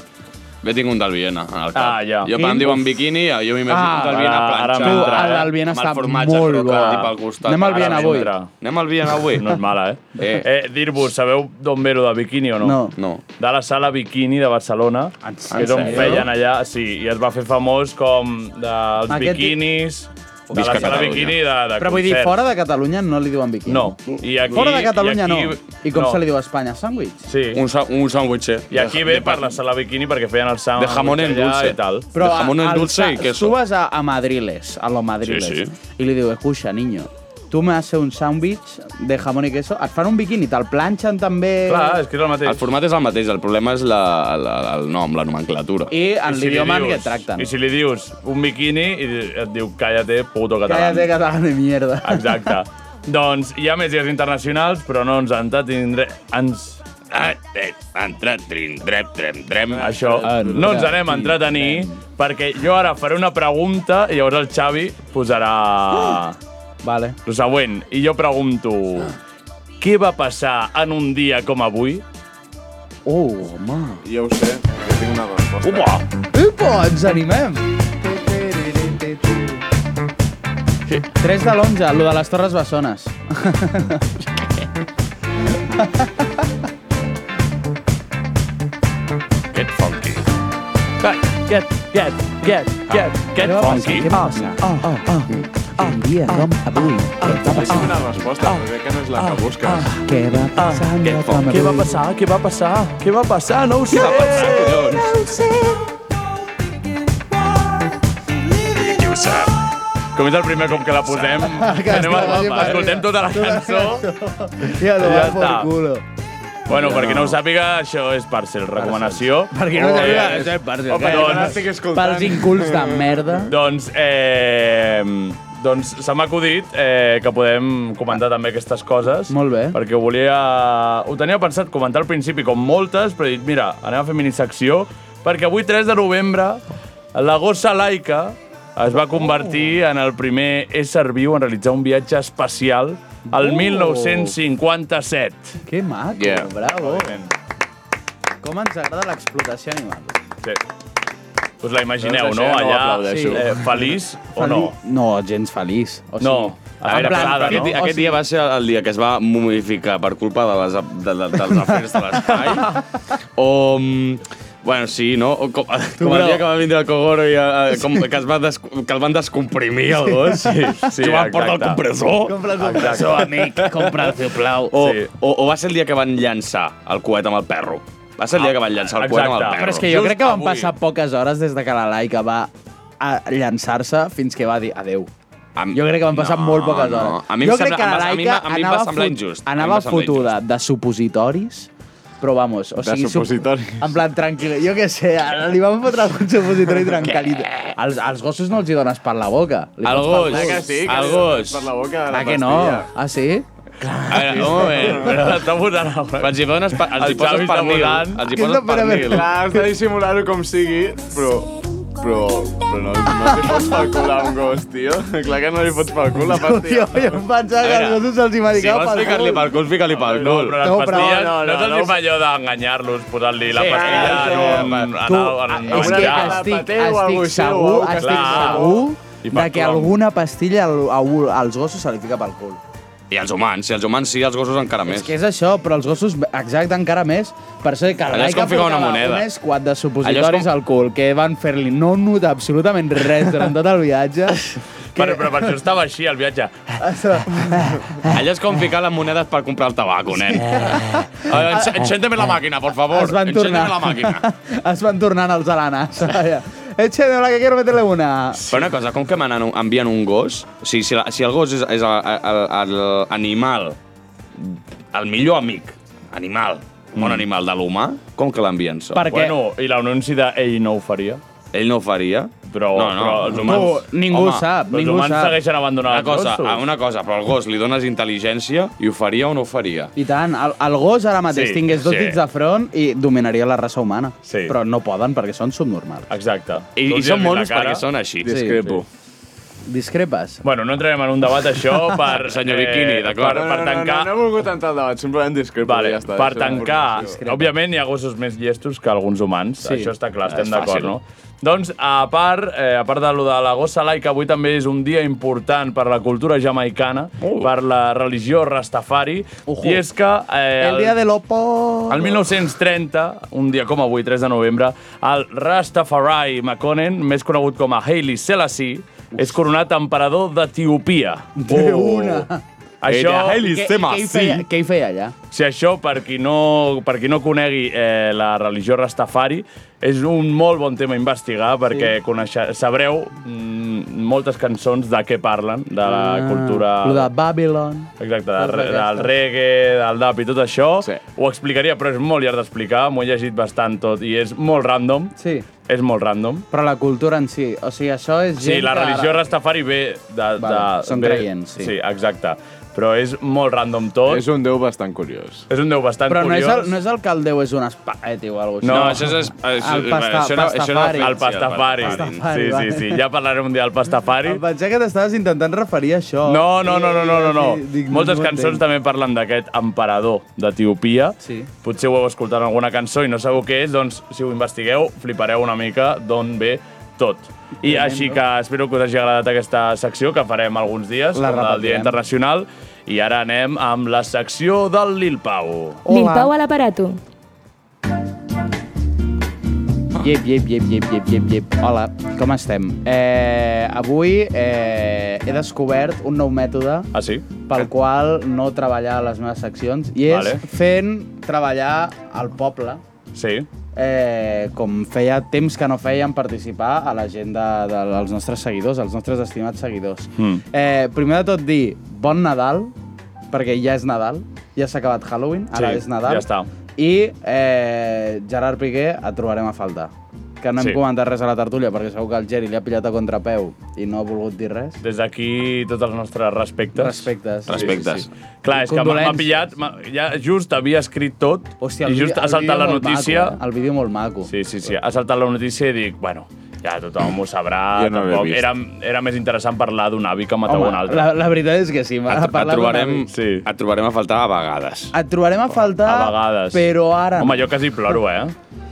[SPEAKER 9] Ve tinc un del Viena al cap.
[SPEAKER 2] Ah, ja.
[SPEAKER 9] Jo quan em diuen biquini, jo m'imagino
[SPEAKER 8] Ah,
[SPEAKER 9] ah, del Viena
[SPEAKER 2] ara- ara
[SPEAKER 9] planxat.
[SPEAKER 2] m'entra, Tu, el eh?
[SPEAKER 8] del Viena
[SPEAKER 9] Amb el
[SPEAKER 8] està
[SPEAKER 9] formatge
[SPEAKER 8] molt
[SPEAKER 9] crocat
[SPEAKER 8] bo.
[SPEAKER 9] i pel costat.
[SPEAKER 8] Anem al
[SPEAKER 9] Ara
[SPEAKER 8] Viena
[SPEAKER 9] m'entra.
[SPEAKER 8] avui.
[SPEAKER 9] Anem al Viena avui.
[SPEAKER 2] No és mala, eh?
[SPEAKER 9] Eh.
[SPEAKER 2] eh Dir-vos, sabeu d'on ve lo de biquini o no?
[SPEAKER 8] No. Ah,
[SPEAKER 9] No.
[SPEAKER 2] De la sala biquini de Barcelona, que és on
[SPEAKER 8] sèrio?
[SPEAKER 2] feien allà, sí, i es va fer famós com dels
[SPEAKER 8] Aquest-
[SPEAKER 2] biquinis, de
[SPEAKER 9] Visca
[SPEAKER 2] la sala
[SPEAKER 9] Catalunya.
[SPEAKER 2] biquini de, de
[SPEAKER 8] Però vull dir,
[SPEAKER 2] concerts.
[SPEAKER 8] fora de Catalunya no li diuen biquini.
[SPEAKER 2] No. I aquí,
[SPEAKER 8] fora de Catalunya
[SPEAKER 2] i aquí,
[SPEAKER 8] no. I com se li diu a Espanya? Sàndwich?
[SPEAKER 2] Sí.
[SPEAKER 9] Un, sa- un eh? sandwicher.
[SPEAKER 2] I aquí ve per la sala biquini perquè feien el sound.
[SPEAKER 9] De jamón en dulce.
[SPEAKER 2] I tal.
[SPEAKER 9] Però de jamón en dulce i
[SPEAKER 8] Tu
[SPEAKER 9] queso.
[SPEAKER 8] vas a, a Madriles, a los Madriles,
[SPEAKER 9] Sí, sí.
[SPEAKER 8] i li diu, escucha, niño, tu me haces un sàndwich de jamón i queso, et fan un biquini, te'l planxen també...
[SPEAKER 2] Clar, és que és el
[SPEAKER 9] El
[SPEAKER 2] mateix.
[SPEAKER 9] format és el mateix, el problema és la, la, el nom, la nomenclatura.
[SPEAKER 8] I en
[SPEAKER 2] I si
[SPEAKER 8] l'idioma
[SPEAKER 2] li
[SPEAKER 8] en què
[SPEAKER 2] dius-
[SPEAKER 8] et tracten.
[SPEAKER 2] I si li dius un biquini i et diu cállate, puto català.
[SPEAKER 8] Cállate, català de mierda.
[SPEAKER 2] Exacte. doncs hi ha més dies internacionals, però no ens han de tindre... Ens...
[SPEAKER 9] Ah, eh, Entra, trin, drep, drem, drem.
[SPEAKER 2] Això,
[SPEAKER 8] Ah,
[SPEAKER 2] no ens anem a entretenir, perquè jo ara faré una pregunta i llavors el Xavi posarà
[SPEAKER 8] Vale.
[SPEAKER 2] el següent. I jo pregunto, què va passar en un dia com avui?
[SPEAKER 8] Oh, home.
[SPEAKER 7] Jo ho sé, jo tinc una resposta.
[SPEAKER 2] Upa!
[SPEAKER 8] Upa, ens animem. 3 de l'11, lo de les Torres Bessones.
[SPEAKER 9] Get funky.
[SPEAKER 2] Get, get, get, get, get funky.
[SPEAKER 8] Ah, Un dia com avui,
[SPEAKER 2] Ah,
[SPEAKER 7] Tinc una resposta, però crec que no és la que
[SPEAKER 9] Ah,
[SPEAKER 7] busques.
[SPEAKER 8] què va passar?
[SPEAKER 2] Què, què va passar? Què va passar? Què va passar? No ho sé. Què va passar, collons?
[SPEAKER 9] Qui ho sap?
[SPEAKER 2] Com és el primer cop que la posem,
[SPEAKER 8] Ah, Que
[SPEAKER 2] anem a,
[SPEAKER 8] estava allà
[SPEAKER 2] escoltem tota la cançó.
[SPEAKER 8] Ja, lo
[SPEAKER 2] Ja
[SPEAKER 8] va por
[SPEAKER 2] està.
[SPEAKER 8] culo.
[SPEAKER 2] Bueno, perquè no ho sàpiga, això és Parcel, recomanació.
[SPEAKER 8] Perquè no
[SPEAKER 2] Eh,
[SPEAKER 8] sabia que era parcial.
[SPEAKER 2] Home,
[SPEAKER 7] Jo no
[SPEAKER 2] doncs,
[SPEAKER 7] estic
[SPEAKER 8] Pels
[SPEAKER 7] escoltant.
[SPEAKER 8] incults de merda.
[SPEAKER 2] Doncs, eh, doncs se m'ha acudit eh, que podem comentar també aquestes coses.
[SPEAKER 8] Molt bé.
[SPEAKER 2] Perquè ho volia... Ho tenia pensat comentar al principi, com moltes, però he dit, mira, anem a fer minisecció, perquè avui, 3 de novembre, la gossa laica es va convertir
[SPEAKER 8] Oh.
[SPEAKER 2] en el primer ésser viu en realitzar un viatge espacial al
[SPEAKER 8] Oh.
[SPEAKER 2] 1957.
[SPEAKER 8] Que maco,
[SPEAKER 9] Yeah.
[SPEAKER 8] bravo. Com ens agrada l'explotació animal.
[SPEAKER 2] Sí. Us la imagineu,
[SPEAKER 7] Doncs
[SPEAKER 2] no?
[SPEAKER 7] això ja no ho
[SPEAKER 2] Allà,
[SPEAKER 7] aplaudeixo.
[SPEAKER 2] eh, feliç o no?
[SPEAKER 8] Feliç- No, gens feliç. O sigui,
[SPEAKER 2] No. A veure,
[SPEAKER 8] plan,
[SPEAKER 2] plada,
[SPEAKER 9] Aquest,
[SPEAKER 2] no?
[SPEAKER 9] dia- aquest dia va ser el dia que es va momificar per culpa de les, de, de, dels afers de l'espai. o... mm, Bueno, sí, no? O com, com el
[SPEAKER 8] però-
[SPEAKER 9] dia que va vindre el Kogoro i eh, com, que, es va des, que el van descomprimir el gos. Sí,
[SPEAKER 2] sí,
[SPEAKER 9] Joan, porta el
[SPEAKER 2] exacte.
[SPEAKER 9] compressor.
[SPEAKER 8] Compra el compressor.
[SPEAKER 9] Compressor, amic, compra'l, sisplau. O,
[SPEAKER 2] Sí.
[SPEAKER 9] sí. o, o va ser el dia que van llançar el coet amb el perro. Va ser el dia que van llançar el coet amb el
[SPEAKER 2] Exacte.
[SPEAKER 9] perro.
[SPEAKER 8] Però és que jo
[SPEAKER 2] Just
[SPEAKER 8] crec que van
[SPEAKER 2] avui.
[SPEAKER 8] passar poques hores des de que la Laika va a llançar-se fins que va dir adeu.
[SPEAKER 9] Am-
[SPEAKER 8] Jo crec que van passar
[SPEAKER 9] No,
[SPEAKER 8] molt poques
[SPEAKER 9] no.
[SPEAKER 8] hores.
[SPEAKER 9] A mi em
[SPEAKER 8] jo
[SPEAKER 9] sembla-
[SPEAKER 8] crec que
[SPEAKER 9] em
[SPEAKER 8] la
[SPEAKER 9] va- a mi em
[SPEAKER 8] Laika
[SPEAKER 9] va- a mi em va
[SPEAKER 8] anava,
[SPEAKER 9] semblar
[SPEAKER 8] fut-
[SPEAKER 9] injust. A mi em
[SPEAKER 8] anava
[SPEAKER 9] va semblar
[SPEAKER 8] fotuda de supositoris, però vamos, o
[SPEAKER 7] De
[SPEAKER 8] sigui... sup-
[SPEAKER 7] supositoris.
[SPEAKER 8] En plan, tranquil, jo què sé, ara li van fotre algun supositori tranquil·lit. Als, als gossos no els hi dones per la boca. Li
[SPEAKER 9] El
[SPEAKER 8] fots
[SPEAKER 9] gos,
[SPEAKER 8] pel
[SPEAKER 7] Ah, que sí, que
[SPEAKER 9] el
[SPEAKER 7] li-
[SPEAKER 9] gos.
[SPEAKER 7] Per la boca de la
[SPEAKER 8] Ah, que no?
[SPEAKER 7] pastilla.
[SPEAKER 8] Ah, sí?
[SPEAKER 9] A veure, un moment. Però està votant alguna Els hi poses, pa, els hi
[SPEAKER 7] El Xavi
[SPEAKER 9] poses
[SPEAKER 7] està
[SPEAKER 9] pernil.
[SPEAKER 7] votant.
[SPEAKER 9] Els hi poses pernil.
[SPEAKER 7] Clar, has de dissimular-ho com sigui, però... Però, però no, no li pots pel cul a un gos, tio. Clar que no li pots pel cul, a part, tio.
[SPEAKER 8] Jo, jo em pensava que
[SPEAKER 7] A veure,
[SPEAKER 8] els gossos se'ls hi medicava
[SPEAKER 9] Si vols ficar-li pel cul, fica-li pel
[SPEAKER 2] No,
[SPEAKER 9] cul.
[SPEAKER 2] però les pastilles, no, no, no, no, no fa allò d'enganyar-los, posant-li la
[SPEAKER 9] Sí,
[SPEAKER 2] pastilla
[SPEAKER 9] sí,
[SPEAKER 2] en un...
[SPEAKER 9] sí.
[SPEAKER 2] En,
[SPEAKER 9] Tu,
[SPEAKER 2] en, en,
[SPEAKER 8] És que
[SPEAKER 2] menjar.
[SPEAKER 8] estic,
[SPEAKER 7] Pateu o alguna
[SPEAKER 8] estic
[SPEAKER 7] cosa així,
[SPEAKER 8] segur,
[SPEAKER 7] o
[SPEAKER 8] estic
[SPEAKER 2] clar.
[SPEAKER 8] segur
[SPEAKER 2] I
[SPEAKER 8] de
[SPEAKER 2] per
[SPEAKER 8] que
[SPEAKER 2] clom.
[SPEAKER 8] alguna pastilla al- a un- als gossos se li fica pel cul.
[SPEAKER 9] I els humans, si els humans sí, els gossos encara
[SPEAKER 8] És
[SPEAKER 9] més.
[SPEAKER 8] que és això, però els gossos, exacte, encara més. Per això que
[SPEAKER 9] Allò és com ficar una moneda.
[SPEAKER 8] un esquat de
[SPEAKER 9] Allò
[SPEAKER 8] supositoris
[SPEAKER 9] és com-
[SPEAKER 8] al cul, que van fer-li no notar absolutament res durant tot el viatge.
[SPEAKER 2] Però, però per això estava així, el viatge.
[SPEAKER 9] Allò és com ficar les monedes per comprar el tabaco, nen. Eh, enx- Encéndeme la màquina, por favor.
[SPEAKER 8] es van
[SPEAKER 9] Encéndeme
[SPEAKER 8] tornar.
[SPEAKER 9] la màquina.
[SPEAKER 8] es van tornant els alanas. Eche, de la que quiero meterle una.
[SPEAKER 9] Però una cosa, com que m'han anu- enviant un gos? O sigui, si, la, si el gos és, és l'animal, el millor amic, animal,
[SPEAKER 2] Mm.
[SPEAKER 9] bon animal de l'humà, com que l'envien sol?
[SPEAKER 8] Per què?
[SPEAKER 2] Bueno, i l'anunci d'ell no ho faria. Doncs
[SPEAKER 9] Ell no ho faria.
[SPEAKER 2] Però,
[SPEAKER 9] no, no,
[SPEAKER 2] però
[SPEAKER 9] els
[SPEAKER 2] els
[SPEAKER 9] humans...
[SPEAKER 2] humans...
[SPEAKER 8] Tu, ningú
[SPEAKER 9] home,
[SPEAKER 8] sap,
[SPEAKER 2] els
[SPEAKER 8] ningú
[SPEAKER 2] humans
[SPEAKER 8] sap.
[SPEAKER 2] segueixen abandonant
[SPEAKER 9] Una cosa, ah,
[SPEAKER 2] els gossos.
[SPEAKER 9] una cosa, però al gos li dones intel·ligència i ho faria o no ho faria?
[SPEAKER 8] I tant, el, el gos ara mateix
[SPEAKER 2] Sí,
[SPEAKER 8] sí, tingués dos
[SPEAKER 2] sí.
[SPEAKER 8] sí. dits de front i dominaria la raça humana.
[SPEAKER 2] Sí.
[SPEAKER 8] Però no poden perquè són subnormals.
[SPEAKER 2] Exacte.
[SPEAKER 9] I,
[SPEAKER 2] Tu
[SPEAKER 9] i
[SPEAKER 2] els has
[SPEAKER 9] són
[SPEAKER 2] vist la
[SPEAKER 9] monos
[SPEAKER 2] cara?
[SPEAKER 9] perquè són així.
[SPEAKER 8] Sí,
[SPEAKER 7] Discrepo.
[SPEAKER 8] Discrepes.
[SPEAKER 2] Bueno, no entrarem en un debat, això, per... eh,
[SPEAKER 9] Senyor Bikini, d'acord.
[SPEAKER 2] Per, per tancar...
[SPEAKER 7] No, no, no, no, no he volgut entrar al debat, simplement discrepo.
[SPEAKER 2] Vale,
[SPEAKER 7] ja està,
[SPEAKER 2] per
[SPEAKER 7] és una
[SPEAKER 2] tancar,
[SPEAKER 7] informació.
[SPEAKER 2] òbviament hi ha gossos més llestos que alguns humans, sí. això està clar, estem d'acord, no? Doncs, a part, eh, a part de lo de la gossa laica, avui també és un dia important per la cultura jamaicana,
[SPEAKER 7] Uh.
[SPEAKER 2] oh. per la religió rastafari,
[SPEAKER 8] Ojo.
[SPEAKER 2] i és que... Eh,
[SPEAKER 8] El dia de l'Opo...
[SPEAKER 2] el 1930, un dia com avui, 3 de novembre, el Rastafari Makonnen, més conegut com a Haile Selassie, és coronat emperador d'Etiopia. Oh.
[SPEAKER 8] De una.
[SPEAKER 2] Això,
[SPEAKER 9] Era Haile
[SPEAKER 8] Què, què, hi feia, què hi feia allà?
[SPEAKER 2] si això, per qui no, per qui no conegui eh, la religió Rastafari, és un molt bon tema a investigar perquè sí. coneixe, sabreu mm, moltes cançons de què parlen, de la cultura...
[SPEAKER 8] Ah, Lo de Babylon...
[SPEAKER 2] Exacte, del,
[SPEAKER 8] Totes
[SPEAKER 2] re- del
[SPEAKER 8] aquestes.
[SPEAKER 2] reggae, del dub i tot això.
[SPEAKER 7] Sí.
[SPEAKER 2] Ho explicaria, però és molt llarg d'explicar. M'ho he llegit bastant tot i és molt random.
[SPEAKER 8] Sí,
[SPEAKER 2] És molt random.
[SPEAKER 8] però la cultura en si. O sigui, això és
[SPEAKER 2] Sí,
[SPEAKER 8] gent
[SPEAKER 2] la
[SPEAKER 8] que
[SPEAKER 2] religió
[SPEAKER 8] ara-
[SPEAKER 2] Rastafari ve de... de
[SPEAKER 8] Vale, són
[SPEAKER 2] ve-
[SPEAKER 8] creients, sí.
[SPEAKER 2] Sí, exacte. Però és molt random tot.
[SPEAKER 7] És un déu bastant curiós.
[SPEAKER 2] És un déu bastant
[SPEAKER 8] Però no és,
[SPEAKER 2] curiós.
[SPEAKER 8] el, no és el que el Déu és un espaet o alguna
[SPEAKER 9] No,
[SPEAKER 8] cosa
[SPEAKER 9] això és... Això,
[SPEAKER 8] El pasta-
[SPEAKER 9] això, era- això era
[SPEAKER 8] pastafari.
[SPEAKER 2] El pastafari.
[SPEAKER 9] Sí, el
[SPEAKER 8] pastafari,
[SPEAKER 2] Sí, sí,
[SPEAKER 8] vale.
[SPEAKER 2] sí. Ja parlarem un dia del pastafari.
[SPEAKER 8] Em pensava que t'estaves intentant referir a això.
[SPEAKER 2] No, no, no, no, no, no.
[SPEAKER 8] Oh, Sí,
[SPEAKER 2] no.
[SPEAKER 8] dic,
[SPEAKER 2] Moltes
[SPEAKER 8] no ho
[SPEAKER 2] cançons
[SPEAKER 8] entenc.
[SPEAKER 2] també parlen d'aquest emperador d'Etiopia.
[SPEAKER 8] Sí.
[SPEAKER 2] Potser ho heu escoltat en alguna cançó i no sabeu què és, doncs si ho investigueu flipareu una mica d'on ve tot. I així que espero que us hagi agradat aquesta secció que farem alguns dies,
[SPEAKER 8] La
[SPEAKER 2] com del Dia
[SPEAKER 8] repetirem.
[SPEAKER 2] Internacional. I ara anem amb la secció del Lil Pau.
[SPEAKER 8] Hola.
[SPEAKER 5] Lil Pau a l'aparato.
[SPEAKER 8] Yep, yep, yep, yep, yep, yep, yep. Hola, com estem? Eh, avui eh, he descobert un nou mètode
[SPEAKER 2] Ah, sí?
[SPEAKER 8] pel qual no treballar a les meves seccions i és
[SPEAKER 2] Vale.
[SPEAKER 8] fent treballar al poble
[SPEAKER 2] Sí.
[SPEAKER 8] eh, com feia temps que no feien participar a l'agenda de, dels nostres seguidors, els nostres estimats seguidors.
[SPEAKER 2] Mm.
[SPEAKER 8] Eh, primer de tot dir bon Nadal, perquè ja és Nadal, ja s'ha acabat Halloween, ara
[SPEAKER 2] Sí,
[SPEAKER 8] és Nadal.
[SPEAKER 2] ja està.
[SPEAKER 8] I eh, Gerard Piqué et trobarem a faltar. Que no hem
[SPEAKER 2] Sí.
[SPEAKER 8] comentat res a la tertúlia, perquè segur que el Geri li ha pillat a contrapeu i no ha volgut dir res.
[SPEAKER 2] Des d'aquí, tots els nostres respectes.
[SPEAKER 8] Respectes.
[SPEAKER 9] Respectes.
[SPEAKER 2] Clar, és que m'ha- m'ha
[SPEAKER 8] Condolències.
[SPEAKER 2] pillat, m'ha- ja just havia escrit tot
[SPEAKER 8] Hòstia,
[SPEAKER 2] i just
[SPEAKER 8] vídeo-
[SPEAKER 2] ha saltat
[SPEAKER 8] vídeo
[SPEAKER 2] la
[SPEAKER 8] molt
[SPEAKER 2] notícia.
[SPEAKER 8] Maco, eh? El vídeo molt maco.
[SPEAKER 2] Sí, sí, sí. Ha saltat la notícia i dic, bueno, ja tothom ho sabrà.
[SPEAKER 7] Jo no l'he
[SPEAKER 2] tampoc.
[SPEAKER 7] vist.
[SPEAKER 2] Era, era més interessant parlar d'un avi que matar
[SPEAKER 8] Home,
[SPEAKER 2] un altre.
[SPEAKER 8] la, la veritat és que sí. m'ha
[SPEAKER 9] Et, et,
[SPEAKER 8] parlat d'un
[SPEAKER 9] trobarem,
[SPEAKER 8] avi.
[SPEAKER 2] Sí.
[SPEAKER 9] et trobarem a faltar a vegades.
[SPEAKER 8] Et trobarem a faltar,
[SPEAKER 2] A vegades.
[SPEAKER 8] però ara...
[SPEAKER 2] Home, jo quasi ploro, eh?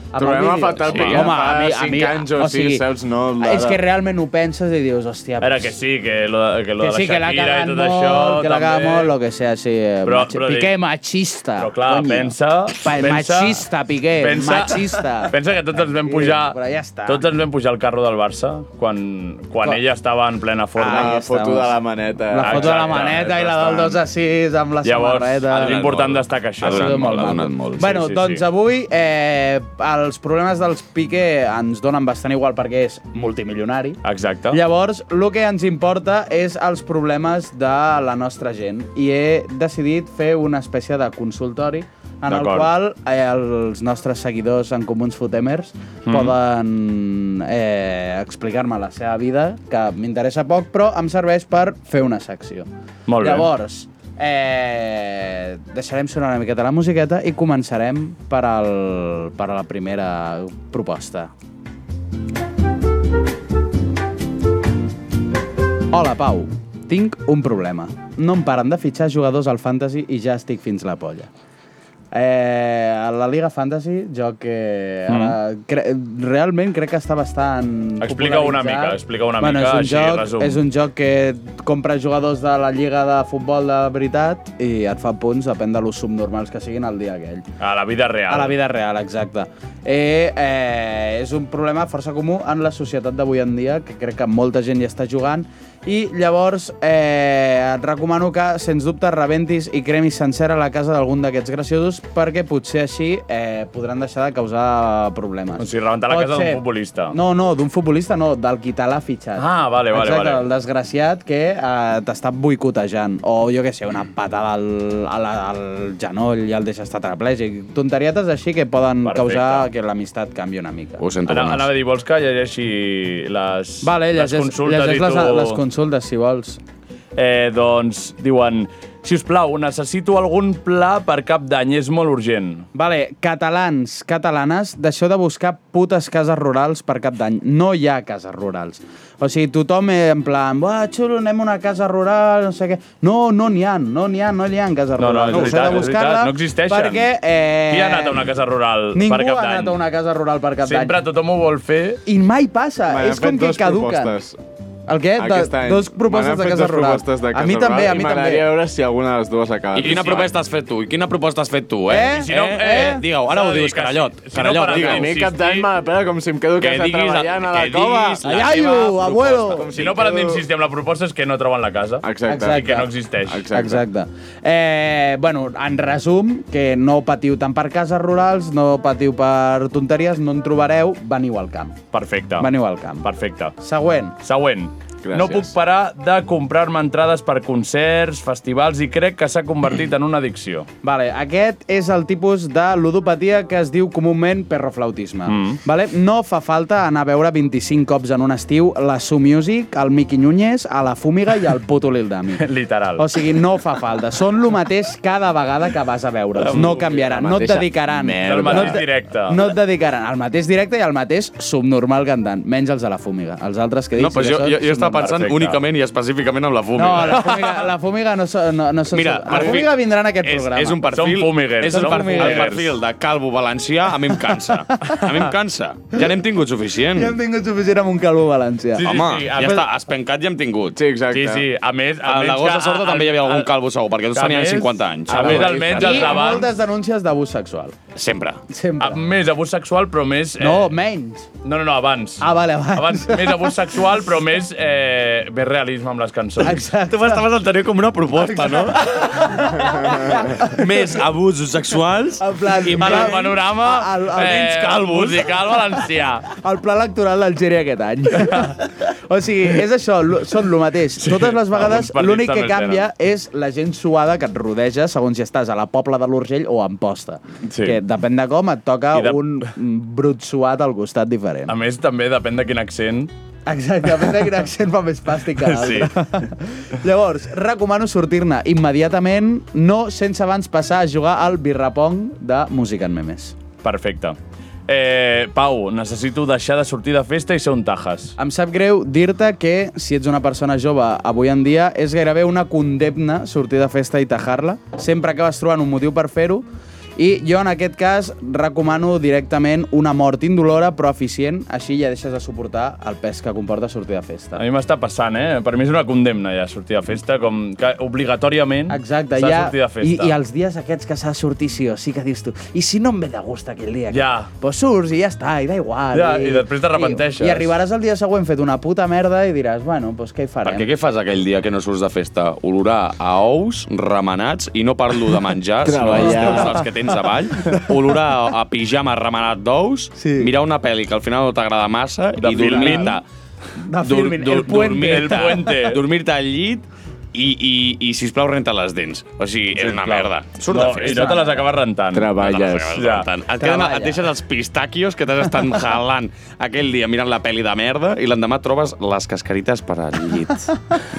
[SPEAKER 8] Amb el
[SPEAKER 7] Trobem a
[SPEAKER 8] vídeo.
[SPEAKER 7] faltar el
[SPEAKER 9] Sí.
[SPEAKER 7] sí.
[SPEAKER 9] Home,
[SPEAKER 7] Home, a mi, a mi, anys o, sí, saps? No,
[SPEAKER 8] És que realment ho penses i dius, hòstia...
[SPEAKER 2] A veure, que sí, que lo, de- que lo
[SPEAKER 8] que
[SPEAKER 2] de la
[SPEAKER 8] sí, que l'ha
[SPEAKER 2] Shakira
[SPEAKER 8] cagat
[SPEAKER 2] i tot
[SPEAKER 8] molt,
[SPEAKER 2] això...
[SPEAKER 8] que l'ha cagat
[SPEAKER 2] també.
[SPEAKER 8] molt, lo que sea, sí. eh,
[SPEAKER 2] Però-
[SPEAKER 8] machi-
[SPEAKER 2] però
[SPEAKER 8] Piqué
[SPEAKER 2] dic-
[SPEAKER 8] machista.
[SPEAKER 2] Però clar,
[SPEAKER 8] coño.
[SPEAKER 2] pensa,
[SPEAKER 8] Pa-
[SPEAKER 2] pensa...
[SPEAKER 8] Machista, Piqué,
[SPEAKER 2] pensa-
[SPEAKER 8] machista.
[SPEAKER 2] Pensa que tots ens vam
[SPEAKER 8] Sí,
[SPEAKER 2] pujar...
[SPEAKER 8] però ja està.
[SPEAKER 2] Tots ens vam pujar al carro del Barça quan, quan
[SPEAKER 8] Clar.
[SPEAKER 2] ella estava en plena forma.
[SPEAKER 8] Ah,
[SPEAKER 7] La
[SPEAKER 8] ja
[SPEAKER 7] foto
[SPEAKER 8] estamos.
[SPEAKER 7] de la maneta.
[SPEAKER 8] La foto de la
[SPEAKER 2] Exacte,
[SPEAKER 8] maneta
[SPEAKER 2] és
[SPEAKER 8] i la del
[SPEAKER 2] bastant.
[SPEAKER 8] 2 a 6 amb la
[SPEAKER 2] Llavors,
[SPEAKER 8] samarreta.
[SPEAKER 2] és important destacar
[SPEAKER 8] Ha
[SPEAKER 2] això.
[SPEAKER 8] sigut
[SPEAKER 9] donat
[SPEAKER 8] molt
[SPEAKER 9] molt, ha
[SPEAKER 8] maco.
[SPEAKER 9] donat molt.
[SPEAKER 8] Bueno,
[SPEAKER 2] Sí, sí,
[SPEAKER 8] doncs
[SPEAKER 2] sí.
[SPEAKER 8] avui eh, els problemes dels Piqué ens donen bastant igual perquè és multimilionari.
[SPEAKER 2] Exacte.
[SPEAKER 8] Llavors, el que ens importa és els problemes de la nostra gent i he decidit fer una espècie de consultori en el
[SPEAKER 2] D'acord.
[SPEAKER 8] qual eh, els nostres seguidors en comuns fotemers poden eh, explicar-me la seva vida, que m'interessa poc, però em serveix per fer una secció.
[SPEAKER 2] Molt bé.
[SPEAKER 8] Llavors, Eh, deixarem sonar una miqueta la musiqueta i començarem per, al, per a la primera proposta. Hola, Pau. Tinc un problema. No em paren de fitxar jugadors al Fantasy i ja estic fins la polla. Eh, a la Liga Fantasy, joc que ara, cre realment crec que està bastant
[SPEAKER 2] Explica Mm. una
[SPEAKER 8] popularitzat.
[SPEAKER 2] mica, explica una
[SPEAKER 8] bueno,
[SPEAKER 2] mica,
[SPEAKER 8] és
[SPEAKER 2] així,
[SPEAKER 8] un joc,
[SPEAKER 2] resum.
[SPEAKER 8] És un joc que et compra jugadors de la Lliga de Futbol de veritat i et fa punts, depèn de l'ús subnormals que siguin el dia aquell.
[SPEAKER 2] A la vida real.
[SPEAKER 8] A la vida real, exacte. Eh, eh, és un problema força comú en la societat d'avui en dia, que crec que molta gent hi està jugant, i llavors eh, et recomano que, sens dubte, rebentis i cremis sencera la casa d'algun d'aquests graciosos, perquè potser així eh, podran deixar de causar problemes.
[SPEAKER 2] O sigui, rebentar la
[SPEAKER 8] Pot
[SPEAKER 2] casa
[SPEAKER 8] ser-
[SPEAKER 2] d'un futbolista.
[SPEAKER 8] No, no, d'un futbolista no, del qui te l'ha fitxat.
[SPEAKER 2] Ah, vale, vale,
[SPEAKER 8] Exacte,
[SPEAKER 2] vale.
[SPEAKER 8] el desgraciat que eh, t'està boicotejant. O, jo que sé, una patada al, al, al genoll i el deixa tetraplègic. Tonterietes així que poden
[SPEAKER 2] Perfecte.
[SPEAKER 8] causar que l'amistat canvi una mica.
[SPEAKER 9] Ho sento,
[SPEAKER 2] Anava,
[SPEAKER 9] Tomàs.
[SPEAKER 2] anava a dir, vols que llegeixi les,
[SPEAKER 8] Vale,
[SPEAKER 2] les
[SPEAKER 8] llegeix,
[SPEAKER 2] consultes
[SPEAKER 8] llegeix
[SPEAKER 2] i tu...
[SPEAKER 8] les, les consultes, si vols.
[SPEAKER 2] Eh, doncs diuen, si us plau, necessito algun pla per cap d'any, és molt urgent.
[SPEAKER 8] Vale, catalans, catalanes, deixeu de buscar putes cases rurals per cap d'any. No hi ha cases rurals. O sigui, tothom eh, en plan, buah, xulo, anem a una casa rural, no sé què. No, no n'hi ha, no n'hi ha, no n'hi ha cases
[SPEAKER 2] No, no,
[SPEAKER 8] rurals.
[SPEAKER 2] és veritat,
[SPEAKER 8] heu de
[SPEAKER 2] és veritat,
[SPEAKER 8] buscar-la
[SPEAKER 2] no existeixen.
[SPEAKER 8] Perquè... Eh,
[SPEAKER 2] Qui ha anat a una casa rural
[SPEAKER 8] Ningú
[SPEAKER 2] per cap
[SPEAKER 8] ha
[SPEAKER 2] d'any?
[SPEAKER 8] anat a una casa rural per cap d'any.
[SPEAKER 2] Sempre tothom ho vol fer.
[SPEAKER 8] I mai passa,
[SPEAKER 7] Me n'han
[SPEAKER 8] és com
[SPEAKER 7] fet
[SPEAKER 8] que
[SPEAKER 7] dues
[SPEAKER 8] caduquen.
[SPEAKER 7] propostes.
[SPEAKER 8] El què? De,
[SPEAKER 7] Aquest any.
[SPEAKER 8] dos propostes
[SPEAKER 7] Me n'han
[SPEAKER 8] de
[SPEAKER 7] fet
[SPEAKER 8] casa
[SPEAKER 7] dues
[SPEAKER 8] rural.
[SPEAKER 7] propostes de
[SPEAKER 8] a
[SPEAKER 7] casa
[SPEAKER 8] mi també,
[SPEAKER 7] rural
[SPEAKER 8] a mi
[SPEAKER 7] i
[SPEAKER 8] també.
[SPEAKER 7] M'agradaria veure si alguna de les dues ha quedat.
[SPEAKER 9] I quina proposta has fet tu? I quina proposta has fet tu, eh?
[SPEAKER 8] Eh? I si no, eh?
[SPEAKER 9] Digue-ho, ara
[SPEAKER 2] S'ha
[SPEAKER 9] ho
[SPEAKER 2] de dir
[SPEAKER 9] dius,
[SPEAKER 2] que
[SPEAKER 9] carallot.
[SPEAKER 2] si- si no
[SPEAKER 9] carallot,
[SPEAKER 2] para
[SPEAKER 7] Digue, a
[SPEAKER 9] digue-ho.
[SPEAKER 7] mi cap d'any me la pela com si em quedo a
[SPEAKER 9] Que
[SPEAKER 7] casa
[SPEAKER 9] diguis-
[SPEAKER 7] treballant a la
[SPEAKER 9] que
[SPEAKER 7] cova.
[SPEAKER 9] diguis la
[SPEAKER 8] Ai, ai,
[SPEAKER 9] teva proposta.
[SPEAKER 8] abuelo!
[SPEAKER 2] Si no paren d'insistir amb la proposta és que no troben la casa.
[SPEAKER 7] Exacte.
[SPEAKER 8] Exacte.
[SPEAKER 2] I que no existeix.
[SPEAKER 8] Exacte. Eh, bueno, en resum, que no patiu tant per cases rurals, no patiu per tonteries, no en trobareu, veniu al camp.
[SPEAKER 2] Perfecte.
[SPEAKER 8] Veniu al camp.
[SPEAKER 2] Perfecte.
[SPEAKER 8] Següent.
[SPEAKER 2] Següent.
[SPEAKER 7] Gràcies.
[SPEAKER 2] No puc parar de comprar-me entrades per concerts, festivals i crec que s'ha convertit en una addicció.
[SPEAKER 8] Vale, aquest és el tipus de ludopatia que es diu comúment perroflautisme. Mm. Vale? No fa falta anar a veure 25 cops en un estiu la Su Music, el Miqui Núñez, a la Fúmiga i el puto Lil Dami.
[SPEAKER 2] Literal.
[SPEAKER 8] O sigui, no fa falta. Són lo mateix cada vegada que vas a veure'ls. No canviaran, no et
[SPEAKER 9] mateixa
[SPEAKER 8] dedicaran.
[SPEAKER 9] merda.
[SPEAKER 2] El mateix
[SPEAKER 8] no et-
[SPEAKER 2] directe.
[SPEAKER 8] No et dedicaran al mateix directe i al mateix subnormal cantant. Menys els de la fúmiga. Els altres que dic...
[SPEAKER 9] No, però
[SPEAKER 8] sí
[SPEAKER 9] jo,
[SPEAKER 8] que són
[SPEAKER 9] jo, jo estava
[SPEAKER 8] subnormals.
[SPEAKER 9] pensant
[SPEAKER 2] Perfecte.
[SPEAKER 9] únicament i específicament amb la fúmiga.
[SPEAKER 8] No, la fúmiga, la fúmiga no, so, no, no són...
[SPEAKER 9] Mira,
[SPEAKER 8] la
[SPEAKER 9] perfil-
[SPEAKER 8] fúmiga vindrà en aquest
[SPEAKER 9] és,
[SPEAKER 8] programa.
[SPEAKER 9] És un perfil,
[SPEAKER 2] Són fumiguers,
[SPEAKER 9] És un
[SPEAKER 8] són
[SPEAKER 9] perfil, el
[SPEAKER 8] fumiguers.
[SPEAKER 9] perfil de calvo valencià a mi em cansa. A mi em cansa. Ja n'hem tingut suficient.
[SPEAKER 8] Ja hem tingut suficient amb un calvo valencià.
[SPEAKER 2] Sí, sí,
[SPEAKER 9] Home,
[SPEAKER 2] sí,
[SPEAKER 9] ja
[SPEAKER 2] a-
[SPEAKER 9] està, espencat ja hem tingut.
[SPEAKER 7] Sí, exacte.
[SPEAKER 2] Sí, sí. A més...
[SPEAKER 9] A la gossa sorda també hi havia algun calvo segur, perquè tots
[SPEAKER 2] que a
[SPEAKER 9] tenien
[SPEAKER 2] més-
[SPEAKER 9] 50 anys.
[SPEAKER 2] A més, almenys els
[SPEAKER 8] I
[SPEAKER 2] d'abans...
[SPEAKER 8] moltes denúncies d'abús sexual.
[SPEAKER 9] Sempre.
[SPEAKER 8] Sempre.
[SPEAKER 2] Amb més abús sexual, però més... Eh,
[SPEAKER 8] No, menys.
[SPEAKER 2] no, no, no, abans.
[SPEAKER 8] Ah, vale, abans.
[SPEAKER 2] Abans, més abús sexual, però més, eh, més realisme amb les
[SPEAKER 9] Ah,
[SPEAKER 2] cançons.
[SPEAKER 8] Exacte.
[SPEAKER 9] m'estaves entenent com una proposta, no? Més abusos sexuals
[SPEAKER 8] En plan,
[SPEAKER 2] I per al panorama,
[SPEAKER 8] Al- al-
[SPEAKER 2] eh, musical valencià.
[SPEAKER 8] El pla electoral d'Algèria aquest any. o sigui, és això, lo- són lo mateix. Sí, Totes les
[SPEAKER 2] alguns
[SPEAKER 8] vegades
[SPEAKER 2] partits
[SPEAKER 8] l'únic que
[SPEAKER 2] també
[SPEAKER 8] canvia és la gent suada que et rodeja segons si estàs a la Pobla de l'Urgell o a Amposta.
[SPEAKER 2] Sí.
[SPEAKER 8] Que depèn de com et toca
[SPEAKER 2] I de-
[SPEAKER 8] de... un brut suat al costat diferent.
[SPEAKER 2] A més, també depèn de quin accent.
[SPEAKER 8] Exacte, depèn de quin accent fa més plàstic que l'altre. Sí. Llavors, recomano sortir-ne immediatament, no sense abans passar a jugar al birrapong de Música en Memes.
[SPEAKER 2] Perfecte. Eh, Pau, necessito deixar de sortir de festa i ser un tajas.
[SPEAKER 8] Em sap greu dir-te que, si ets una persona jove avui en dia, és gairebé una condemna sortir de festa i tajar-la. Sempre acabes trobant un motiu per fer-ho. I jo, en aquest cas, recomano directament una mort indolora però eficient, així ja deixes de suportar el pes que comporta sortir de
[SPEAKER 2] A
[SPEAKER 8] festa.
[SPEAKER 2] mi m'està passant, eh? Per mi és una condemna ja sortir de festa, com que obligatòriament
[SPEAKER 8] Exacte,
[SPEAKER 2] s'ha de
[SPEAKER 8] ja,
[SPEAKER 2] sortir de
[SPEAKER 8] i,
[SPEAKER 2] festa.
[SPEAKER 8] i els dies aquests que s'ha de sortir sí o sí que dius tu, i si no em ve de gust aquell dia?
[SPEAKER 2] Ja.
[SPEAKER 8] Que... Pues surts i ja està, i da igual.
[SPEAKER 2] Ja, i després t'arrepenteixes.
[SPEAKER 8] I, I arribaràs el dia següent fet una puta merda i diràs, bueno, pues què hi farem?
[SPEAKER 9] Perquè què fas aquell dia que no surts de festa? Olorar a ous, remenats, i no parlo de menjar, sinó dels teus, dels que tens avall, olorar a, a pijama remenat d'ous,
[SPEAKER 8] Sí.
[SPEAKER 9] mirar una pel·li que al final no t'agrada massa
[SPEAKER 2] De
[SPEAKER 9] i dormir-te.
[SPEAKER 2] filmin.
[SPEAKER 8] De filmin, el puente.
[SPEAKER 9] dormir-te-
[SPEAKER 2] El puente.
[SPEAKER 9] Dormir-te al llit, i, i, i sisplau, renta les dents. O sigui, és una
[SPEAKER 2] Sisplau.
[SPEAKER 9] merda. Surt
[SPEAKER 2] No,
[SPEAKER 9] de festa.
[SPEAKER 2] i no te les acabes rentant.
[SPEAKER 9] No te les
[SPEAKER 2] Treballes.
[SPEAKER 9] acabes
[SPEAKER 2] Ja.
[SPEAKER 9] rentant. Et, queden,
[SPEAKER 2] Treballa.
[SPEAKER 9] et deixes els pistàquios que t'has estat jalant aquell dia mirant la pel·li de merda i l'endemà trobes les cascarites per al llit.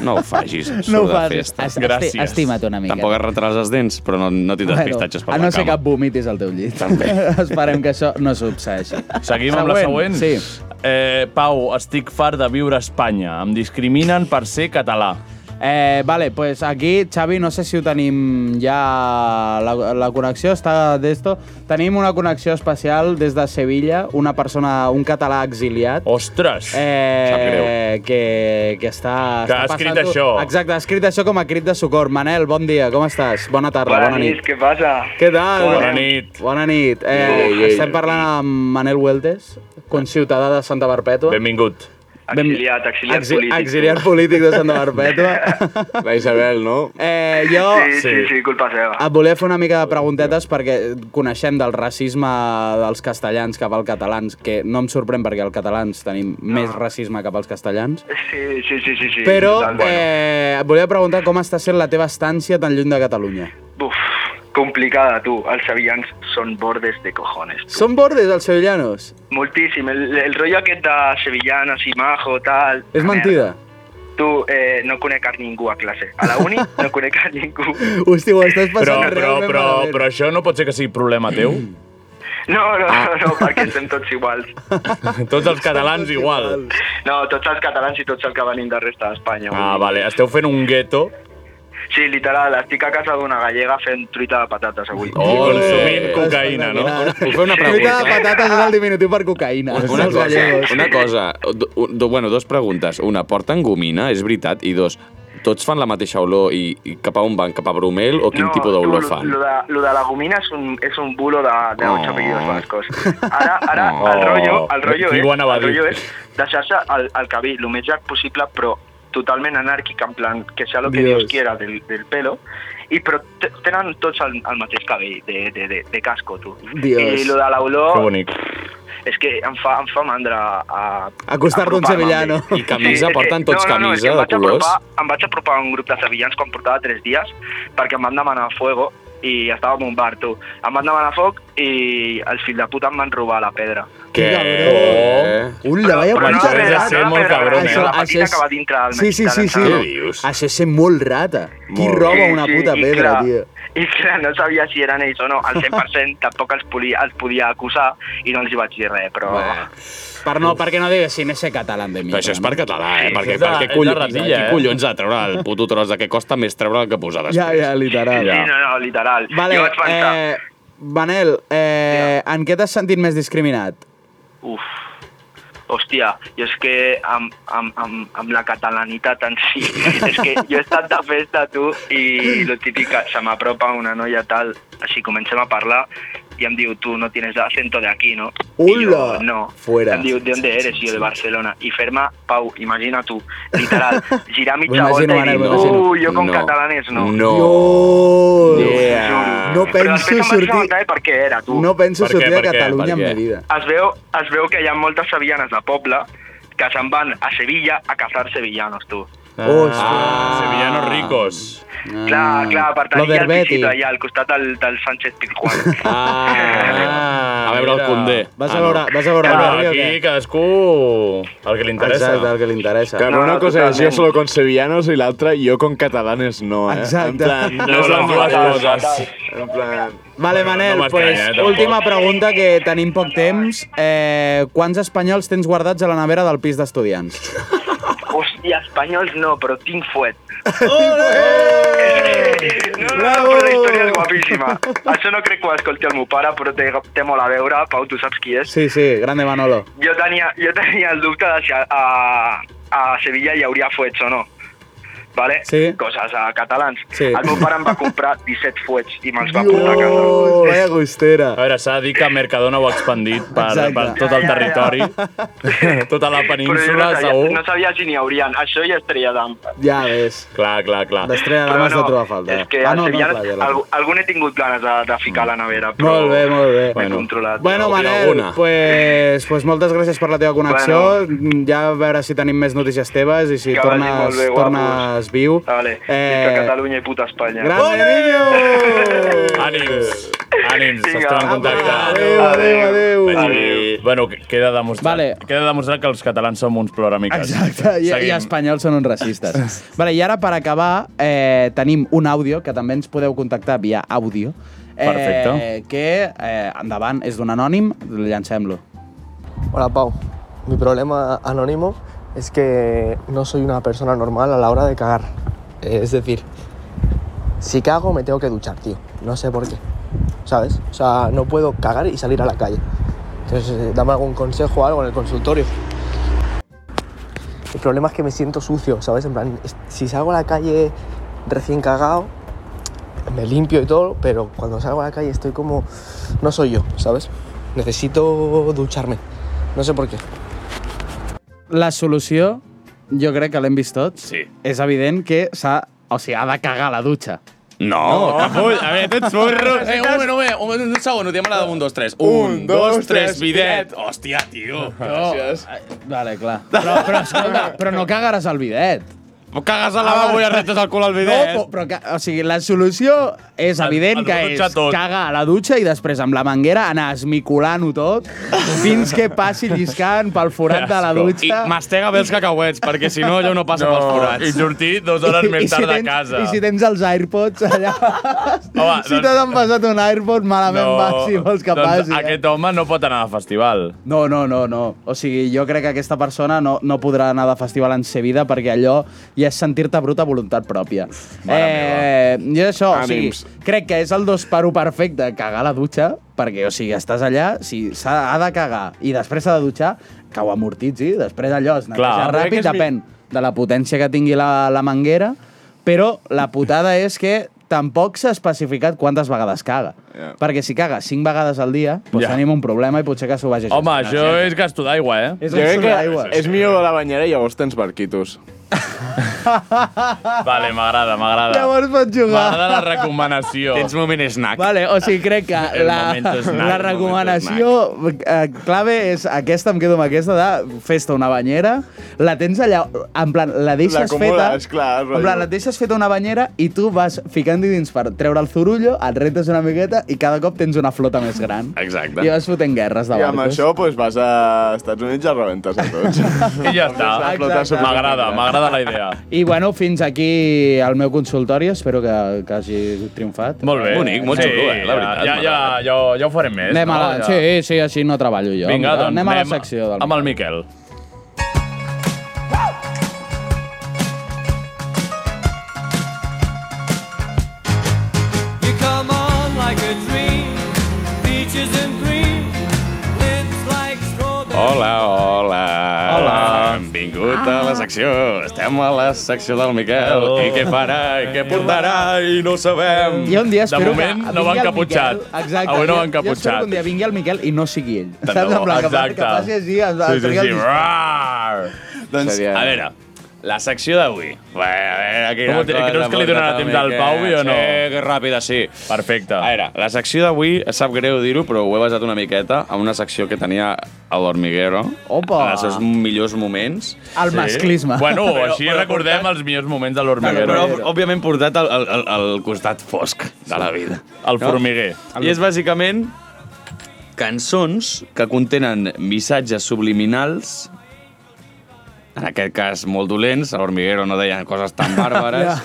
[SPEAKER 9] No ho facis. surt
[SPEAKER 11] No ho
[SPEAKER 9] de
[SPEAKER 11] facis.
[SPEAKER 9] festa.
[SPEAKER 11] Es- esti- Gràcies. estima't una mica.
[SPEAKER 9] Tampoc et rentaràs les dents, però no, no tindràs bueno, pistatxos per
[SPEAKER 8] a
[SPEAKER 9] la
[SPEAKER 8] no ser
[SPEAKER 9] cama.
[SPEAKER 8] que vomitis al teu llit.
[SPEAKER 9] També.
[SPEAKER 8] Esperem que això no succeeixi.
[SPEAKER 2] Seguim amb la següent?
[SPEAKER 8] Sí.
[SPEAKER 2] Eh, Pau, estic fart de viure a Espanya. Em discriminen per ser català.
[SPEAKER 8] Eh, vale, pues aquí, Xavi, no sé si ho tenim ja... La, la connexió està d'esto. Tenim una connexió especial des de Sevilla, una persona, un català exiliat.
[SPEAKER 2] Ostres!
[SPEAKER 8] Eh,
[SPEAKER 2] Oh, Sap greu.
[SPEAKER 8] que, que està...
[SPEAKER 2] Que
[SPEAKER 8] està
[SPEAKER 2] ha escrit
[SPEAKER 8] passant-ho-
[SPEAKER 2] això.
[SPEAKER 8] Exacte, ha escrit això com a crit de socor. Manel, bon dia, com estàs? Bona tarda, bona, nit.
[SPEAKER 12] què passa?
[SPEAKER 8] Què tal?
[SPEAKER 12] Bona
[SPEAKER 2] nit.
[SPEAKER 8] Bona nit. Eh,
[SPEAKER 12] Ei, ei.
[SPEAKER 8] estem parlant amb Manel Hueltes, conciutadà de Santa Barpètua.
[SPEAKER 2] Benvingut.
[SPEAKER 12] Exiliat, exiliat
[SPEAKER 8] Exi-
[SPEAKER 12] polític.
[SPEAKER 8] Exiliat polític de Santa Barpètua.
[SPEAKER 7] La Isabel, no?
[SPEAKER 8] Eh, jo...
[SPEAKER 12] Sí, sí, sí, culpa seva.
[SPEAKER 8] Et volia fer una mica de preguntetes perquè coneixem del racisme dels castellans cap als catalans, que no em sorprèn perquè els catalans tenim més racisme cap als castellans.
[SPEAKER 12] Sí, sí, sí, sí. sí
[SPEAKER 8] Però
[SPEAKER 12] total, bueno.
[SPEAKER 8] eh, et volia preguntar com està sent la teva estància tan lluny de Catalunya.
[SPEAKER 12] Buf, complicada, tú. Els sevillans son bordes de cojones.
[SPEAKER 8] Són bordes, els sevillanos?
[SPEAKER 12] Moltíssim. El, el rotllo aquest de sevillana, així majo, tal...
[SPEAKER 8] És mentida.
[SPEAKER 12] Tu eh, no conec a ningú a classe. A la uni no conec a ningú.
[SPEAKER 8] Hosti, ho estàs
[SPEAKER 2] Però,
[SPEAKER 8] passant
[SPEAKER 2] però,
[SPEAKER 8] realment
[SPEAKER 2] però,
[SPEAKER 8] malament.
[SPEAKER 2] però això no pot ser que sigui problema teu?
[SPEAKER 12] No, no,
[SPEAKER 2] ah.
[SPEAKER 12] no, no, perquè estem tots iguals.
[SPEAKER 2] Tots els catalans igual.
[SPEAKER 12] No, tots els catalans i tots els que venim de resta d'Espanya. vull
[SPEAKER 2] Ah,
[SPEAKER 12] dir.
[SPEAKER 2] vale. Esteu fent un gueto Ah.
[SPEAKER 12] Sí, literal, estic a casa d'una gallega fent truita de patates avui.
[SPEAKER 2] i Oh, consumint cocaïna, no?
[SPEAKER 9] Puc fer una
[SPEAKER 8] Truita de
[SPEAKER 9] pregunta?
[SPEAKER 8] patates és el diminutiu per cocaïna.
[SPEAKER 9] Una
[SPEAKER 8] Els
[SPEAKER 9] cosa,
[SPEAKER 8] gallegos.
[SPEAKER 9] una cosa do, do, bueno, dos preguntes. Una, porten gomina, és veritat, i dos, tots fan la mateixa olor i, i cap a on van, cap a Bromel, o quin
[SPEAKER 12] No,
[SPEAKER 9] tipus
[SPEAKER 12] tu,
[SPEAKER 9] d'olor
[SPEAKER 12] lo-
[SPEAKER 9] fan?
[SPEAKER 12] Lo de, lo de la gomina es un, es un bulo de, de ocho
[SPEAKER 9] Oh.
[SPEAKER 12] apellidos vascos. Ara, ara
[SPEAKER 2] Oh.
[SPEAKER 12] el rotllo, el rotllo,
[SPEAKER 9] Qui
[SPEAKER 12] és,
[SPEAKER 9] ho anava a
[SPEAKER 12] el rotllo
[SPEAKER 9] dir?
[SPEAKER 12] és deixar-se el, el cabell el més llarg possible, però totalment anàrquic, en plan, que sea lo que
[SPEAKER 13] Dios.
[SPEAKER 12] Dios, quiera del, del pelo, i però te- tenen tots el, el mateix cabell de, de, de, de casco, tu.
[SPEAKER 8] Dios.
[SPEAKER 12] I lo de
[SPEAKER 2] Que
[SPEAKER 12] l'olor
[SPEAKER 2] bonic.
[SPEAKER 12] és que em fa, em fa mandra a...
[SPEAKER 8] Acostar-te a un
[SPEAKER 12] apropar-me
[SPEAKER 8] sevillano.
[SPEAKER 12] amb ell.
[SPEAKER 8] I camisa,
[SPEAKER 12] és que-
[SPEAKER 8] porten tots
[SPEAKER 12] no, no, no, és que
[SPEAKER 8] camisa
[SPEAKER 12] em
[SPEAKER 8] de
[SPEAKER 12] vaig
[SPEAKER 8] colors.
[SPEAKER 12] Apropar, em vaig apropar a un grup de sevillans quan portava 3 dies perquè em van demanar fuego i estava en un bar, tu. Em van demanar foc i els fills de puta em van robar la pedra.
[SPEAKER 8] Què? Ula, vaya
[SPEAKER 12] però no,
[SPEAKER 8] guanxa.
[SPEAKER 12] però no, Això és molt però no, cabron, eh?
[SPEAKER 8] Això-
[SPEAKER 12] la petita
[SPEAKER 8] això és-
[SPEAKER 12] que va dintre del
[SPEAKER 8] Sí, sí, sí, sí.
[SPEAKER 12] Què
[SPEAKER 8] Això és ser molt rata. Qui roba una puta
[SPEAKER 12] i
[SPEAKER 8] pedra,
[SPEAKER 12] clar,
[SPEAKER 8] tio?
[SPEAKER 12] I clar, no sabia si eren ells o no. Al 100% tampoc els podia, els podia acusar i no els hi vaig dir res, però...
[SPEAKER 8] Per no, perquè no diguessin ese catalán de mi.
[SPEAKER 9] Però això és per català, eh?
[SPEAKER 12] Sí,
[SPEAKER 9] perquè,
[SPEAKER 12] és de-
[SPEAKER 9] perquè
[SPEAKER 12] és de
[SPEAKER 9] collons,
[SPEAKER 12] ratilla,
[SPEAKER 9] qui
[SPEAKER 12] eh?
[SPEAKER 9] collons ha de treure el puto tros de que costa més treure el que posar després?
[SPEAKER 8] Ja, ja, literal.
[SPEAKER 12] Sí, no, no, literal.
[SPEAKER 8] Vale,
[SPEAKER 12] jo vaig pensar,
[SPEAKER 8] eh, Manel, eh, en què t'has sentit més discriminat?
[SPEAKER 12] Uf. Hòstia, jo és que amb, amb, amb, amb la catalanitat en si, és que jo he estat de festa, tu, i lo típic que se m'apropa una noia tal, així comencem a parlar, i em diu, tu no tienes acento de aquí, no? I jo,
[SPEAKER 8] Ula!
[SPEAKER 12] no.
[SPEAKER 8] Fuera.
[SPEAKER 12] Em diu, ¿de dónde eres? I jo, de Barcelona. I fer-me, Pau, imagina tu, literal, girar
[SPEAKER 8] M'ho
[SPEAKER 12] mitja
[SPEAKER 8] imagino,
[SPEAKER 12] volta i
[SPEAKER 8] Manel,
[SPEAKER 12] dir,
[SPEAKER 8] m'ho imagino.
[SPEAKER 12] uh, jo com
[SPEAKER 8] No.
[SPEAKER 12] catalanes no.
[SPEAKER 8] Dios.
[SPEAKER 12] Yeah.
[SPEAKER 8] No
[SPEAKER 12] Però
[SPEAKER 8] penso
[SPEAKER 12] després em vaig
[SPEAKER 8] sortir...
[SPEAKER 12] preguntar eh, per què era, tu.
[SPEAKER 8] No penso
[SPEAKER 12] Per què,
[SPEAKER 8] sortir de
[SPEAKER 12] per què,
[SPEAKER 8] Catalunya en
[SPEAKER 12] per
[SPEAKER 8] mi
[SPEAKER 12] què?
[SPEAKER 8] vida.
[SPEAKER 12] Es veu, es veu que hi ha moltes sevillanes de poble que se'n van a Sevilla a cazar sevillanos, tu.
[SPEAKER 2] Ah, sevillanos ricos.
[SPEAKER 8] Ah.
[SPEAKER 12] Clar, clar, per
[SPEAKER 2] Lo
[SPEAKER 12] tenir
[SPEAKER 2] del
[SPEAKER 12] el
[SPEAKER 2] Betis.
[SPEAKER 12] pisito allà al costat del, del Sánchez Pizjuán.
[SPEAKER 2] Ah,
[SPEAKER 9] a veure el Condé.
[SPEAKER 8] Vas a veure, vas a veure el barri o
[SPEAKER 2] aquí
[SPEAKER 8] què?
[SPEAKER 2] cadascú el que li interessa.
[SPEAKER 8] Exacte, el que li interessa.
[SPEAKER 7] Claro, una cosa és jo solo con sevillanos i l'altra jo con catalanes no, eh?
[SPEAKER 8] Exacte.
[SPEAKER 7] En plan,
[SPEAKER 8] No, no,
[SPEAKER 7] són
[SPEAKER 8] dues
[SPEAKER 7] dues
[SPEAKER 8] coses.
[SPEAKER 7] En plan...
[SPEAKER 8] Vale, Manel,
[SPEAKER 7] m'estranya,
[SPEAKER 8] pues,
[SPEAKER 7] eh, tampoc.
[SPEAKER 8] última pregunta que tenim poc temps. Eh, quants espanyols tens guardats a la nevera del pis d'estudiants?
[SPEAKER 12] Hòstia, espanyols no, però tinc fuet. No, no,
[SPEAKER 8] Bravo!
[SPEAKER 12] però la Eh! història és guapíssima. Això no crec que ho escolti el meu pare, però té, té molt a veure. Pau, tu saps qui és?
[SPEAKER 8] Sí, sí, grande Manolo.
[SPEAKER 12] Jo tenia, jo tenia el dubte de si a, a, a Sevilla hi hauria fuets o no. Vale?
[SPEAKER 8] Sí.
[SPEAKER 12] Coses a catalans.
[SPEAKER 8] Sí. Mm.
[SPEAKER 12] El meu pare em va comprar 17 fuets i me'ls va portar a casa.
[SPEAKER 8] Oh, vaya gustera.
[SPEAKER 2] A veure, s'ha de dir que Mercadona ho ha expandit per,
[SPEAKER 8] Exacte.
[SPEAKER 2] per tot el
[SPEAKER 12] Ja, ja,
[SPEAKER 2] territori,
[SPEAKER 12] ja.
[SPEAKER 2] tota la
[SPEAKER 12] Però jo no
[SPEAKER 2] península,
[SPEAKER 12] sabia,
[SPEAKER 2] segur.
[SPEAKER 12] no sabia si n'hi haurien. Això i Estrella d'Am.
[SPEAKER 8] Ja ves.
[SPEAKER 2] Clar, clar, clar.
[SPEAKER 8] D'Estrella d'Am has de trobar a faltar.
[SPEAKER 12] És que
[SPEAKER 8] Ah,
[SPEAKER 12] ah, no,
[SPEAKER 8] no, no,
[SPEAKER 12] Sevilla,
[SPEAKER 8] clar, ja
[SPEAKER 12] no,
[SPEAKER 8] l'has de-
[SPEAKER 12] algun he tingut ganes de, de ficar a la nevera, però...
[SPEAKER 8] Molt bé, molt bé.
[SPEAKER 12] M'he controlat.
[SPEAKER 8] Bueno, Manel, pues, pues moltes gràcies per la teva connexió. Bueno. Ja a veure si tenim més notícies teves i si
[SPEAKER 12] Que vagi
[SPEAKER 8] tornes,
[SPEAKER 12] molt bé, guapos.
[SPEAKER 8] tornes es viu. Eh,
[SPEAKER 12] Vale, visca Catalunya i puta Espanya.
[SPEAKER 8] gran
[SPEAKER 12] Ole!
[SPEAKER 2] Ànims, ànims, estem en contacte.
[SPEAKER 12] adéu, adéu,
[SPEAKER 8] adéu.
[SPEAKER 2] Adéu. Bueno, que- queda demostrat, vale. queda demostrat que els catalans som uns ploramiques.
[SPEAKER 8] Exacte, i, i espanyols són uns racistes. Vale, I ara, per acabar, eh, tenim un àudio, que també ens podeu contactar via àudio,
[SPEAKER 11] Perfecte.
[SPEAKER 8] que eh, endavant és d'un anònim, llancem-lo.
[SPEAKER 11] Hola Pau, mi problema anónimo es que no soy una persona normal a la hora de cagar. Eh, Es decir, si cago me tengo que duchar, tío. No sé por qué. ¿Sabes? O sea, no puedo cagar y salir a la calle. Entonces, eh, dame algún consejo o algo en el consultorio. El problema es que me siento sucio, ¿sabes? En plan, es- si salgo a la calle recién cagado, me limpio y todo, pero cuando salgo a la calle estoy como... No soy yo, ¿sabes? Necesito ducharme. No sé por qué.
[SPEAKER 8] La solució, jo crec que l'hem vist tots, sí. és evident que s'ha o sigui, ha de cagar a la dutxa.
[SPEAKER 9] No,
[SPEAKER 8] No.
[SPEAKER 9] capull. A veure, tu ets burro.
[SPEAKER 8] Eh,
[SPEAKER 9] Eh,
[SPEAKER 8] un
[SPEAKER 9] un
[SPEAKER 8] moment,
[SPEAKER 9] moment, un moment, un segon, ho diem a la de 1, 2, 3. 1, 2, 3, bidet. Hòstia, tio.
[SPEAKER 8] Gràcies. Eh, Vale, clar. Però, però escolta, però no cagaràs al bidet.
[SPEAKER 9] Cagues a la lavabo i arretes el cul al bidet.
[SPEAKER 8] No, però, però, o sigui, la solució és evident que és tot. cagar a la dutxa i després amb la manguera anar esmiculant-ho tot fins que passi lliscant pel forat de la dutxa.
[SPEAKER 9] I mastega bé els cacauets, perquè si no allò no passa
[SPEAKER 2] No,
[SPEAKER 9] pels forats.
[SPEAKER 2] i sortir dues hores
[SPEAKER 8] I- i
[SPEAKER 2] més
[SPEAKER 8] si
[SPEAKER 2] tard de
[SPEAKER 8] tens-
[SPEAKER 2] casa.
[SPEAKER 8] I si tens els AirPods allà...
[SPEAKER 2] Home,
[SPEAKER 8] si
[SPEAKER 2] doncs-
[SPEAKER 8] t'has empassat un AirPod, malament no, va, si vols que
[SPEAKER 2] doncs
[SPEAKER 8] passi. eh?
[SPEAKER 2] aquest home no pot anar a festival.
[SPEAKER 8] No, no, no, no. O sigui, jo crec que aquesta persona no, no podrà anar de festival en ser vida perquè allò ja és sentir-te brut a voluntat pròpia. Eh, jo això, o sigui,
[SPEAKER 9] Ànims.
[SPEAKER 8] crec que és el dos per un perfecte, cagar a la dutxa, perquè, o sigui, estàs allà, si s'ha ha de cagar i després s'ha de dutxar, que ho amortitzi, després allò es neteja
[SPEAKER 2] Clar, crec que
[SPEAKER 8] ràpid,
[SPEAKER 2] és mi-
[SPEAKER 8] depèn de la potència que tingui la, la manguera, però la putada és que tampoc s'ha especificat quantes vegades caga. Yeah. Perquè si caga cinc vegades al dia, doncs
[SPEAKER 2] Ja.
[SPEAKER 8] tenim un problema i potser que s'ho vagi
[SPEAKER 2] Home, això
[SPEAKER 8] gestionant.
[SPEAKER 2] és gasto d'aigua, eh?
[SPEAKER 8] És Jo gasto crec que d'aigua.
[SPEAKER 7] És millor a la banyera i llavors tens barquitos.
[SPEAKER 2] Vale, m'agrada, m'agrada.
[SPEAKER 8] Llavors pots jugar.
[SPEAKER 2] M'agrada la recomanació.
[SPEAKER 9] Tens moment snack.
[SPEAKER 8] Vale, o sigui, crec que
[SPEAKER 2] El
[SPEAKER 8] la,
[SPEAKER 2] momento snack,
[SPEAKER 8] la
[SPEAKER 2] el
[SPEAKER 8] recomanació eh, clave és aquesta, em quedo amb aquesta, de fes-te una banyera, la tens allà, en plan, la deixes feta...
[SPEAKER 7] L'acumules, clar,
[SPEAKER 8] En plan, la deixes feta una banyera i tu vas ficant-hi dins per treure el zurullo, et rentes una miqueta i cada cop tens una flota més gran.
[SPEAKER 9] Exacte.
[SPEAKER 8] I vas fotent guerres de
[SPEAKER 7] I amb
[SPEAKER 8] barcos.
[SPEAKER 7] això doncs, vas a Estats Units i els rebentes a tots.
[SPEAKER 2] I ja està.
[SPEAKER 7] Exacte.
[SPEAKER 2] M'agrada, m'agrada la idea.
[SPEAKER 8] I bueno, fins aquí el meu consultori, espero que, que hagi triomfat.
[SPEAKER 2] Molt bé.
[SPEAKER 9] Bonic, molt xulo, eh, la veritat,
[SPEAKER 2] Ja, ja,
[SPEAKER 9] m'agrada.
[SPEAKER 2] ja, ja ho farem més.
[SPEAKER 8] Anem a la...
[SPEAKER 2] no? Ja.
[SPEAKER 8] Sí, sí, així no treballo jo.
[SPEAKER 2] Vinga, doncs
[SPEAKER 8] anem a la
[SPEAKER 2] anem
[SPEAKER 8] secció del...
[SPEAKER 2] Amb el Miquel.
[SPEAKER 13] You come on like a dream, peaches and cream, lips like strawberry.
[SPEAKER 9] Hola, hola.
[SPEAKER 13] Hola.
[SPEAKER 9] Benvingut a la secció. Estem a la secció del Miquel.
[SPEAKER 2] Oh.
[SPEAKER 9] I què farà, i què portarà, i no ho sabem.
[SPEAKER 8] Jo un dia espero
[SPEAKER 9] de moment,
[SPEAKER 8] que
[SPEAKER 9] no van
[SPEAKER 8] vingui el
[SPEAKER 9] caputxat.
[SPEAKER 8] Miquel, exacte.
[SPEAKER 9] Avui no van
[SPEAKER 8] Jo- Jo espero que un
[SPEAKER 9] caputxat.
[SPEAKER 8] dia vingui el Miquel i no sigui ell.
[SPEAKER 9] Tant
[SPEAKER 8] Saps?
[SPEAKER 9] de bo,
[SPEAKER 8] En plan, que, passi, que
[SPEAKER 9] exacte.
[SPEAKER 8] passi així... Es,
[SPEAKER 9] Sí, sí,
[SPEAKER 8] es-
[SPEAKER 9] sí. Rar! Doncs, a veure, la secció d'avui. Bé, A veure, quina
[SPEAKER 2] Com ho té-
[SPEAKER 9] cosa,
[SPEAKER 2] creus que li donarà
[SPEAKER 9] pobret
[SPEAKER 2] temps al
[SPEAKER 9] Miquel.
[SPEAKER 2] Pau, o no?
[SPEAKER 9] Sí, que ràpida, sí.
[SPEAKER 2] Perfecte.
[SPEAKER 9] A veure, la secció d'avui, sap greu dir-ho, però ho he basat una miqueta en una secció que tenia a l'Hormiguero.
[SPEAKER 8] Opa!
[SPEAKER 9] En els seus millors moments.
[SPEAKER 8] El masclisme.
[SPEAKER 2] Bueno,
[SPEAKER 9] Però-
[SPEAKER 2] així
[SPEAKER 9] però
[SPEAKER 2] recordem els millors moments de l'Hormiguero.
[SPEAKER 9] Però, òb- òbviament, portat al, al, al- al costat fosc de la vida.
[SPEAKER 2] El formiguer.
[SPEAKER 9] I és bàsicament cançons que contenen missatges subliminals en aquest cas molt dolents, a l'Hormiguero no deien coses tan bàrbares,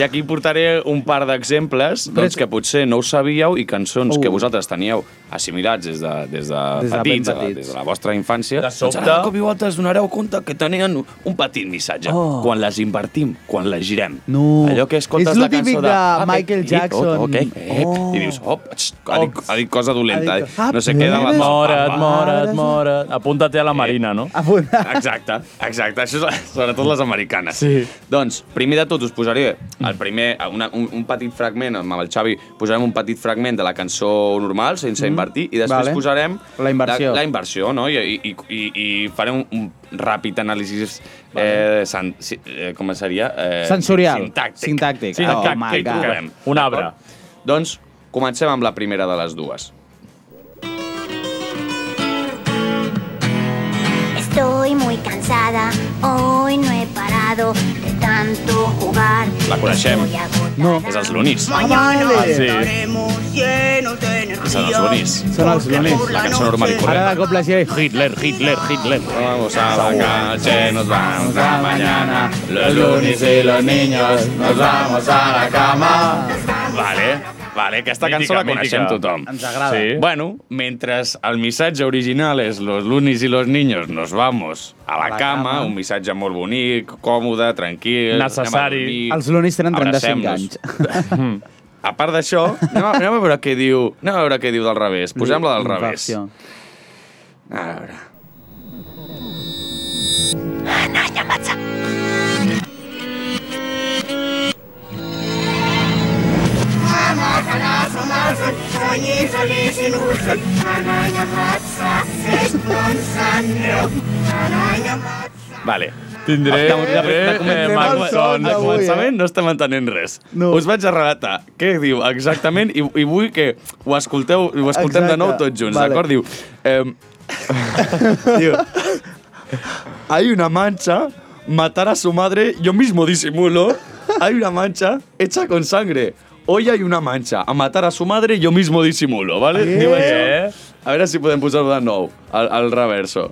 [SPEAKER 9] i aquí portaré un par d'exemples doncs, que potser no ho sabíeu i cançons que vosaltres teníeu assimilats des de, des de,
[SPEAKER 2] Uh. Des de ben
[SPEAKER 9] petits,
[SPEAKER 2] petits.
[SPEAKER 9] des de la vostra infància.
[SPEAKER 2] De sobte-
[SPEAKER 9] Doncs ara de cop i volta us donareu compte que tenien un petit missatge.
[SPEAKER 8] Oh.
[SPEAKER 9] Quan les invertim, quan les girem.
[SPEAKER 8] No.
[SPEAKER 9] Allò que escoltes
[SPEAKER 8] És lo
[SPEAKER 9] la cançó de...
[SPEAKER 8] típic de
[SPEAKER 9] "Ah, bé,
[SPEAKER 8] Michael
[SPEAKER 9] i- oh,
[SPEAKER 8] Jackson. Oh.
[SPEAKER 9] ok, ep", I dius, op, txt, ha, dit, ha dit cosa dolenta.
[SPEAKER 2] Ha
[SPEAKER 9] eh?
[SPEAKER 2] dit-
[SPEAKER 9] no sé què.
[SPEAKER 2] Mora't,
[SPEAKER 9] davant del
[SPEAKER 2] mora't,
[SPEAKER 9] papa.
[SPEAKER 2] mora't, mora't. Apunta't a la Marina, no?
[SPEAKER 9] Exacte, exacte. Això és sobretot les americanes. Sí. Doncs, primer de tot us posaré el primer, una, un, un petit fragment, amb el Xavi posarem un petit fragment de la cançó normal, sense
[SPEAKER 8] Mhm.
[SPEAKER 9] invertir, i després
[SPEAKER 8] Vale.
[SPEAKER 9] posarem...
[SPEAKER 8] La inversió.
[SPEAKER 9] La, la inversió, no? I, i, i, i farem un, un ràpid anàlisi eh, san, si, eh, com seria? Eh,
[SPEAKER 8] Sensorial.
[SPEAKER 9] Sintàctic.
[SPEAKER 8] Sintàctic. Oh my
[SPEAKER 9] que hi
[SPEAKER 8] God.
[SPEAKER 9] trobem.
[SPEAKER 8] Un arbre.
[SPEAKER 9] D'acord? Doncs, comencem amb la primera de les dues.
[SPEAKER 14] Estoy muy cansada, hoy no he parado. cansado de tanto jugar.
[SPEAKER 9] La coneixem.
[SPEAKER 8] No.
[SPEAKER 9] És els Lunis. Ah,
[SPEAKER 14] llenos de energía.
[SPEAKER 9] Són els Lunis.
[SPEAKER 8] Són els Lunis.
[SPEAKER 9] La cançó normal i
[SPEAKER 8] Ara
[SPEAKER 9] corrent.
[SPEAKER 8] de cop la gent...
[SPEAKER 9] Hitler, Hitler, Hitler. Vamos a la calle, nos vamos a mañana. Los Lunis y los niños, nos vamos a la cama. Vale, vale, aquesta
[SPEAKER 2] Mítica,
[SPEAKER 9] cançó la
[SPEAKER 2] mítica.
[SPEAKER 9] coneixem tothom.
[SPEAKER 2] Ens agrada. Sí.
[SPEAKER 9] Bueno, mentre el missatge original és los lunis i los niños nos vamos a la,
[SPEAKER 8] la
[SPEAKER 9] cama,
[SPEAKER 8] cama.
[SPEAKER 9] un missatge molt bonic, còmode, tranquil... anem
[SPEAKER 8] Necessari.
[SPEAKER 9] a dormir,
[SPEAKER 8] Els lunis tenen 35
[SPEAKER 9] abracem-nos. A part d'això, anem, a- anem a veure què diu anem a veure què diu del revés. Posem-la del revés.
[SPEAKER 8] Inversió.
[SPEAKER 9] A veure. Vale.
[SPEAKER 2] Tindré,
[SPEAKER 9] De, de, de,
[SPEAKER 2] eh,
[SPEAKER 9] començament-
[SPEAKER 2] malsons
[SPEAKER 9] de
[SPEAKER 2] avui,
[SPEAKER 9] començament no estem entenent res.
[SPEAKER 2] No.
[SPEAKER 9] Us vaig a relatar què diu exactament i, i vull que ho escolteu, ho escoltem de
[SPEAKER 8] Exacte.
[SPEAKER 9] nou tots junts,
[SPEAKER 8] Vale.
[SPEAKER 9] d'acord? Diu, ehm, diu, hay una mancha, matar a su madre, yo mismo disimulo, hay una mancha hecha con sangre. Hoy hay una mancha, a matar a su madre, yo mismo disimulo, ¿vale?
[SPEAKER 8] Eh.
[SPEAKER 9] Diu això. A veure si podem posar-ho de nou, al, al reverso.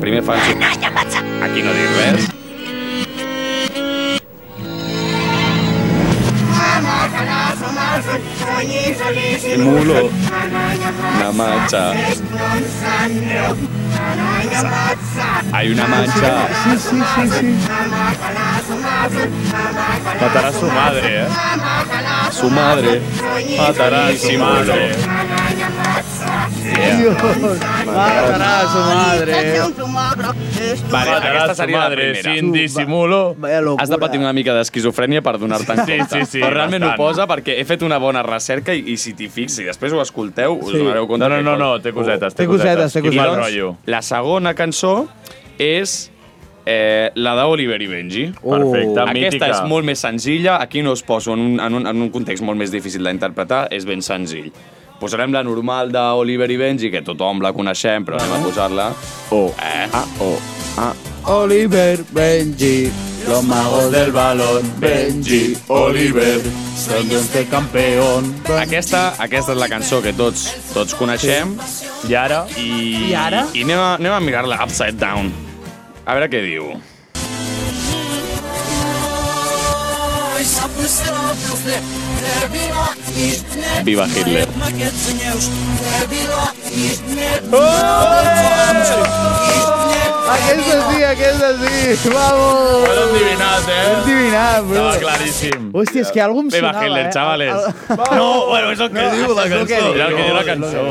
[SPEAKER 9] Primer fan... Aquí no diu res. Simulo una mancha. Hay una mancha.
[SPEAKER 8] Sí, sí, sí, sí.
[SPEAKER 2] Matarà a su madre, eh?
[SPEAKER 9] Su madre.
[SPEAKER 2] Matarà a su madre.
[SPEAKER 8] Dios, matará a su madre.
[SPEAKER 9] Vale,
[SPEAKER 2] Matarà
[SPEAKER 9] aquesta
[SPEAKER 2] su
[SPEAKER 9] seria la
[SPEAKER 2] madre
[SPEAKER 9] primera.
[SPEAKER 2] sin disimulo.
[SPEAKER 8] Vaya locura.
[SPEAKER 9] Has de patir una mica d'esquizofrènia per donar-te'n
[SPEAKER 2] Sí,
[SPEAKER 9] compte.
[SPEAKER 2] sí, sí,
[SPEAKER 9] Però realment
[SPEAKER 2] bastant.
[SPEAKER 9] ho posa perquè he fet una bona recerca i, i si t'hi fixes i després ho escolteu, us
[SPEAKER 2] Sí.
[SPEAKER 9] donareu compte.
[SPEAKER 2] No, no,
[SPEAKER 9] que
[SPEAKER 2] no,
[SPEAKER 9] cos-
[SPEAKER 2] no, té cosetes, té
[SPEAKER 8] Té cosetes, té
[SPEAKER 2] cosetes. I mal
[SPEAKER 8] cosetes.
[SPEAKER 2] rotllo.
[SPEAKER 9] La segona cançó és eh, la d'Oliver i Benji.
[SPEAKER 2] Uh, Perfecte,
[SPEAKER 9] Aquesta
[SPEAKER 2] mítica.
[SPEAKER 9] és molt més senzilla, aquí no es poso en un, en un, en un context molt més difícil d'interpretar, és ben senzill. Posarem la normal d'Oliver i Benji, que tothom la coneixem, però anem a posar-la. Oh, eh. ah, oh, ah.
[SPEAKER 8] Oliver, Benji, los magos del balón.
[SPEAKER 9] Benji, Oliver, soy este campeón. Aquesta, aquesta és la cançó que tots, tots coneixem.
[SPEAKER 2] I ara?
[SPEAKER 9] I,
[SPEAKER 4] I ara?
[SPEAKER 9] I anem a, anem a mirar-la upside down. A veure què diu. Viva Hitler.
[SPEAKER 8] Aquesta sí, aquesta sí. Vamos.
[SPEAKER 2] Ho he endivinat, eh?
[SPEAKER 8] Ho he endivinat, bro.
[SPEAKER 2] Estava claríssim.
[SPEAKER 8] Hòstia, és que algú em
[SPEAKER 2] Viva
[SPEAKER 8] sonava,
[SPEAKER 2] Hitler,
[SPEAKER 8] eh?
[SPEAKER 2] chavales.
[SPEAKER 8] No,
[SPEAKER 2] ah, bueno, és el que diu la cançó. Era el que diu la cançó.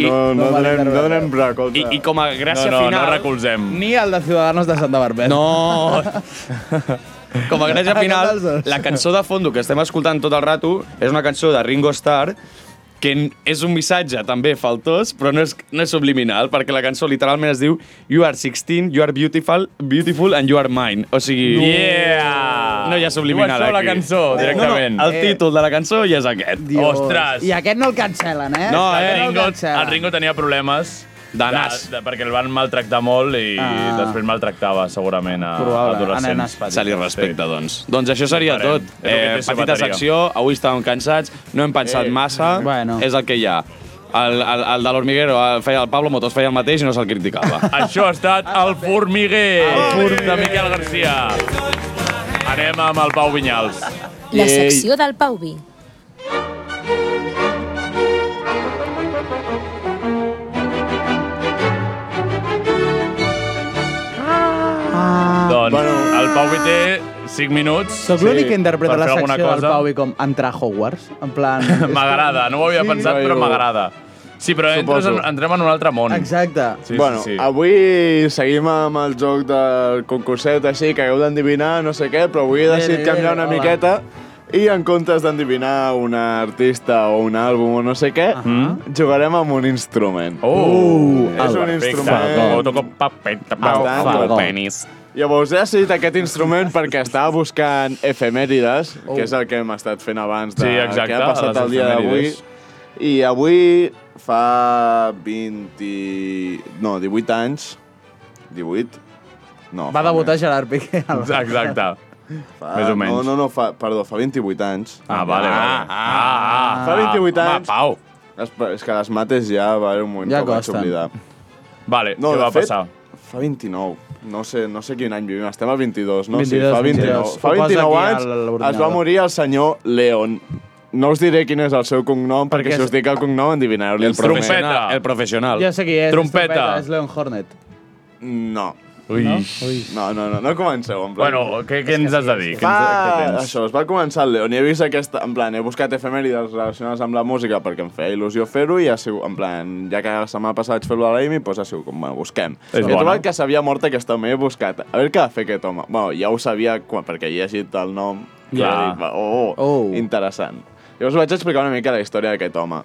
[SPEAKER 7] No, no, donem, no donem recolza.
[SPEAKER 9] I, I com a gràcia
[SPEAKER 2] No, no, no
[SPEAKER 9] final...
[SPEAKER 2] recolzem.
[SPEAKER 8] Ni el de Ciudadanos de Santa Barbet.
[SPEAKER 9] No! Com a gràcia final,
[SPEAKER 8] Aquestes.
[SPEAKER 9] la cançó de fondo que estem escoltant tot el rato és una cançó de Ringo Starr que n- és un missatge també faltós, però no és, no és subliminal, perquè la cançó literalment es diu You are 16, you are beautiful, beautiful and you are mine. O sigui...
[SPEAKER 2] No. Yeah!
[SPEAKER 9] No hi ha subliminal
[SPEAKER 2] Diu això la
[SPEAKER 9] aquí.
[SPEAKER 2] cançó, directament.
[SPEAKER 8] Eh,
[SPEAKER 2] Eh.
[SPEAKER 9] No, no, el títol de la cançó ja és aquest.
[SPEAKER 2] Dios. Ostres.
[SPEAKER 8] I aquest no el cancelen, eh?
[SPEAKER 9] No,
[SPEAKER 8] Aquest
[SPEAKER 9] eh,
[SPEAKER 8] el
[SPEAKER 2] Ringo,
[SPEAKER 8] cancelen.
[SPEAKER 2] el Ringo tenia problemes
[SPEAKER 9] De nas.
[SPEAKER 2] de- perquè el van maltractar molt i
[SPEAKER 8] Ah.
[SPEAKER 2] després maltractava segurament a
[SPEAKER 8] Probable, a nenes
[SPEAKER 2] adolescents.
[SPEAKER 8] petites.
[SPEAKER 9] Se li respecta, doncs. Doncs això seria
[SPEAKER 2] Farem.
[SPEAKER 9] tot.
[SPEAKER 2] És el que
[SPEAKER 9] Eh,
[SPEAKER 2] té ser
[SPEAKER 9] petita
[SPEAKER 2] bateria.
[SPEAKER 9] secció, avui estàvem cansats, no hem pensat
[SPEAKER 2] Eh.
[SPEAKER 9] massa,
[SPEAKER 8] Bueno.
[SPEAKER 9] és el que hi ha. El, el, el de l'Hormiguero, el, feia- el Pablo Motos feia el mateix i no se'l criticava.
[SPEAKER 2] Això ha estat
[SPEAKER 8] Ah,
[SPEAKER 2] El Formiguer,
[SPEAKER 8] El
[SPEAKER 2] de Miquel Garcia. Anem amb el Pau Vinyals.
[SPEAKER 8] Ah.
[SPEAKER 15] La secció del Pau Vi.
[SPEAKER 2] Doncs el Pau Vi té 5 minuts.
[SPEAKER 8] Sóc l'únic que interpreta
[SPEAKER 2] per
[SPEAKER 8] la
[SPEAKER 2] fer alguna
[SPEAKER 8] secció del
[SPEAKER 2] cosa.
[SPEAKER 8] Pau i com entrar a Hogwarts. En plan...
[SPEAKER 2] M'agrada, no ho havia
[SPEAKER 8] Sí.
[SPEAKER 2] pensat, però m'agrada. Sí, però entres en,
[SPEAKER 7] Suposo.
[SPEAKER 2] entrem en un altre món.
[SPEAKER 8] Exacte.
[SPEAKER 2] Sí,
[SPEAKER 7] bueno,
[SPEAKER 2] sí, sí.
[SPEAKER 7] avui seguim amb el joc del concurset, així que heu d'endevinar no sé què, però avui he
[SPEAKER 8] Bé,
[SPEAKER 7] decidit
[SPEAKER 8] bé,
[SPEAKER 7] canviar
[SPEAKER 8] bé,
[SPEAKER 7] una
[SPEAKER 8] hola.
[SPEAKER 7] miqueta i en comptes d'endevinar un artista o un àlbum o no sé què, jugarem amb un instrument.
[SPEAKER 2] Oh,
[SPEAKER 7] és un
[SPEAKER 2] perfecte.
[SPEAKER 7] instrument.
[SPEAKER 2] Com toco papeta, pau,
[SPEAKER 7] Bastant
[SPEAKER 2] pau,
[SPEAKER 7] fagó.
[SPEAKER 9] penis.
[SPEAKER 7] Llavors he decidit aquest instrument perquè estava buscant efemèrides,
[SPEAKER 8] Oh.
[SPEAKER 7] que és el que hem estat fent abans de
[SPEAKER 2] Sí, exacte,
[SPEAKER 7] que ha passat
[SPEAKER 2] les
[SPEAKER 7] el dia d'avui.
[SPEAKER 2] efemèrides.
[SPEAKER 7] I avui fa 20... no, 18 anys, 18,
[SPEAKER 9] No,
[SPEAKER 8] Va debutar Gerard Piqué.
[SPEAKER 2] Ah,
[SPEAKER 8] al Barça.
[SPEAKER 2] Exacte.
[SPEAKER 9] Fa,
[SPEAKER 2] Més o menys.
[SPEAKER 9] No, no, no, fa, perdó, fa 28 anys.
[SPEAKER 2] Ah, vale, vale. Ah, ah,
[SPEAKER 9] fa 28
[SPEAKER 2] home,
[SPEAKER 9] anys. Pau. Es, és que les mates ja va haver un moment
[SPEAKER 2] Ja
[SPEAKER 9] que ho vaig
[SPEAKER 2] costen.
[SPEAKER 9] oblidar.
[SPEAKER 2] Vale,
[SPEAKER 9] no,
[SPEAKER 2] què
[SPEAKER 9] de
[SPEAKER 2] va
[SPEAKER 9] fet,
[SPEAKER 2] passar?
[SPEAKER 9] Fa 29. No sé, no sé quin any vivim, estem al 22, no?
[SPEAKER 8] 22,
[SPEAKER 9] sí, fa 29,
[SPEAKER 8] 22.
[SPEAKER 9] fa
[SPEAKER 8] Ho posa
[SPEAKER 9] 29
[SPEAKER 8] aquí
[SPEAKER 9] anys
[SPEAKER 8] a l'ordinador.
[SPEAKER 9] es va morir el senyor León. No us diré quin és el seu cognom, perquè,
[SPEAKER 8] Perquè
[SPEAKER 9] si us dic el cognom endivineu-li el,
[SPEAKER 2] Ah,
[SPEAKER 16] professional, el professional.
[SPEAKER 8] Ja sé qui és. és
[SPEAKER 9] Trompeta.
[SPEAKER 8] És Leon Hornet.
[SPEAKER 9] No.
[SPEAKER 2] Ui.
[SPEAKER 9] No? no, no, no, no comenceu. En plan.
[SPEAKER 2] Bueno, què, què ens has de dir? Què
[SPEAKER 9] Fa...
[SPEAKER 2] ens- què tens?
[SPEAKER 9] Això, es va començar el León i he vist aquesta... En plan, he buscat efemèrides relacionades amb la música perquè em feia il·lusió fer-ho i ha sigut... En plan, ja que la setmana passada vaig fer-lo a l'Amy, doncs ha sigut com, bueno, busquem.
[SPEAKER 2] És
[SPEAKER 9] I he
[SPEAKER 2] bona.
[SPEAKER 9] trobat que s'havia mort aquest home i he buscat. A veure què ha fet aquest home. Bueno, ja ho sabia quan, perquè he llegit el nom. I
[SPEAKER 2] Clar.
[SPEAKER 9] he dit, va, oh, oh, oh, interessant. Llavors vaig explicar una mica la història d'aquest home.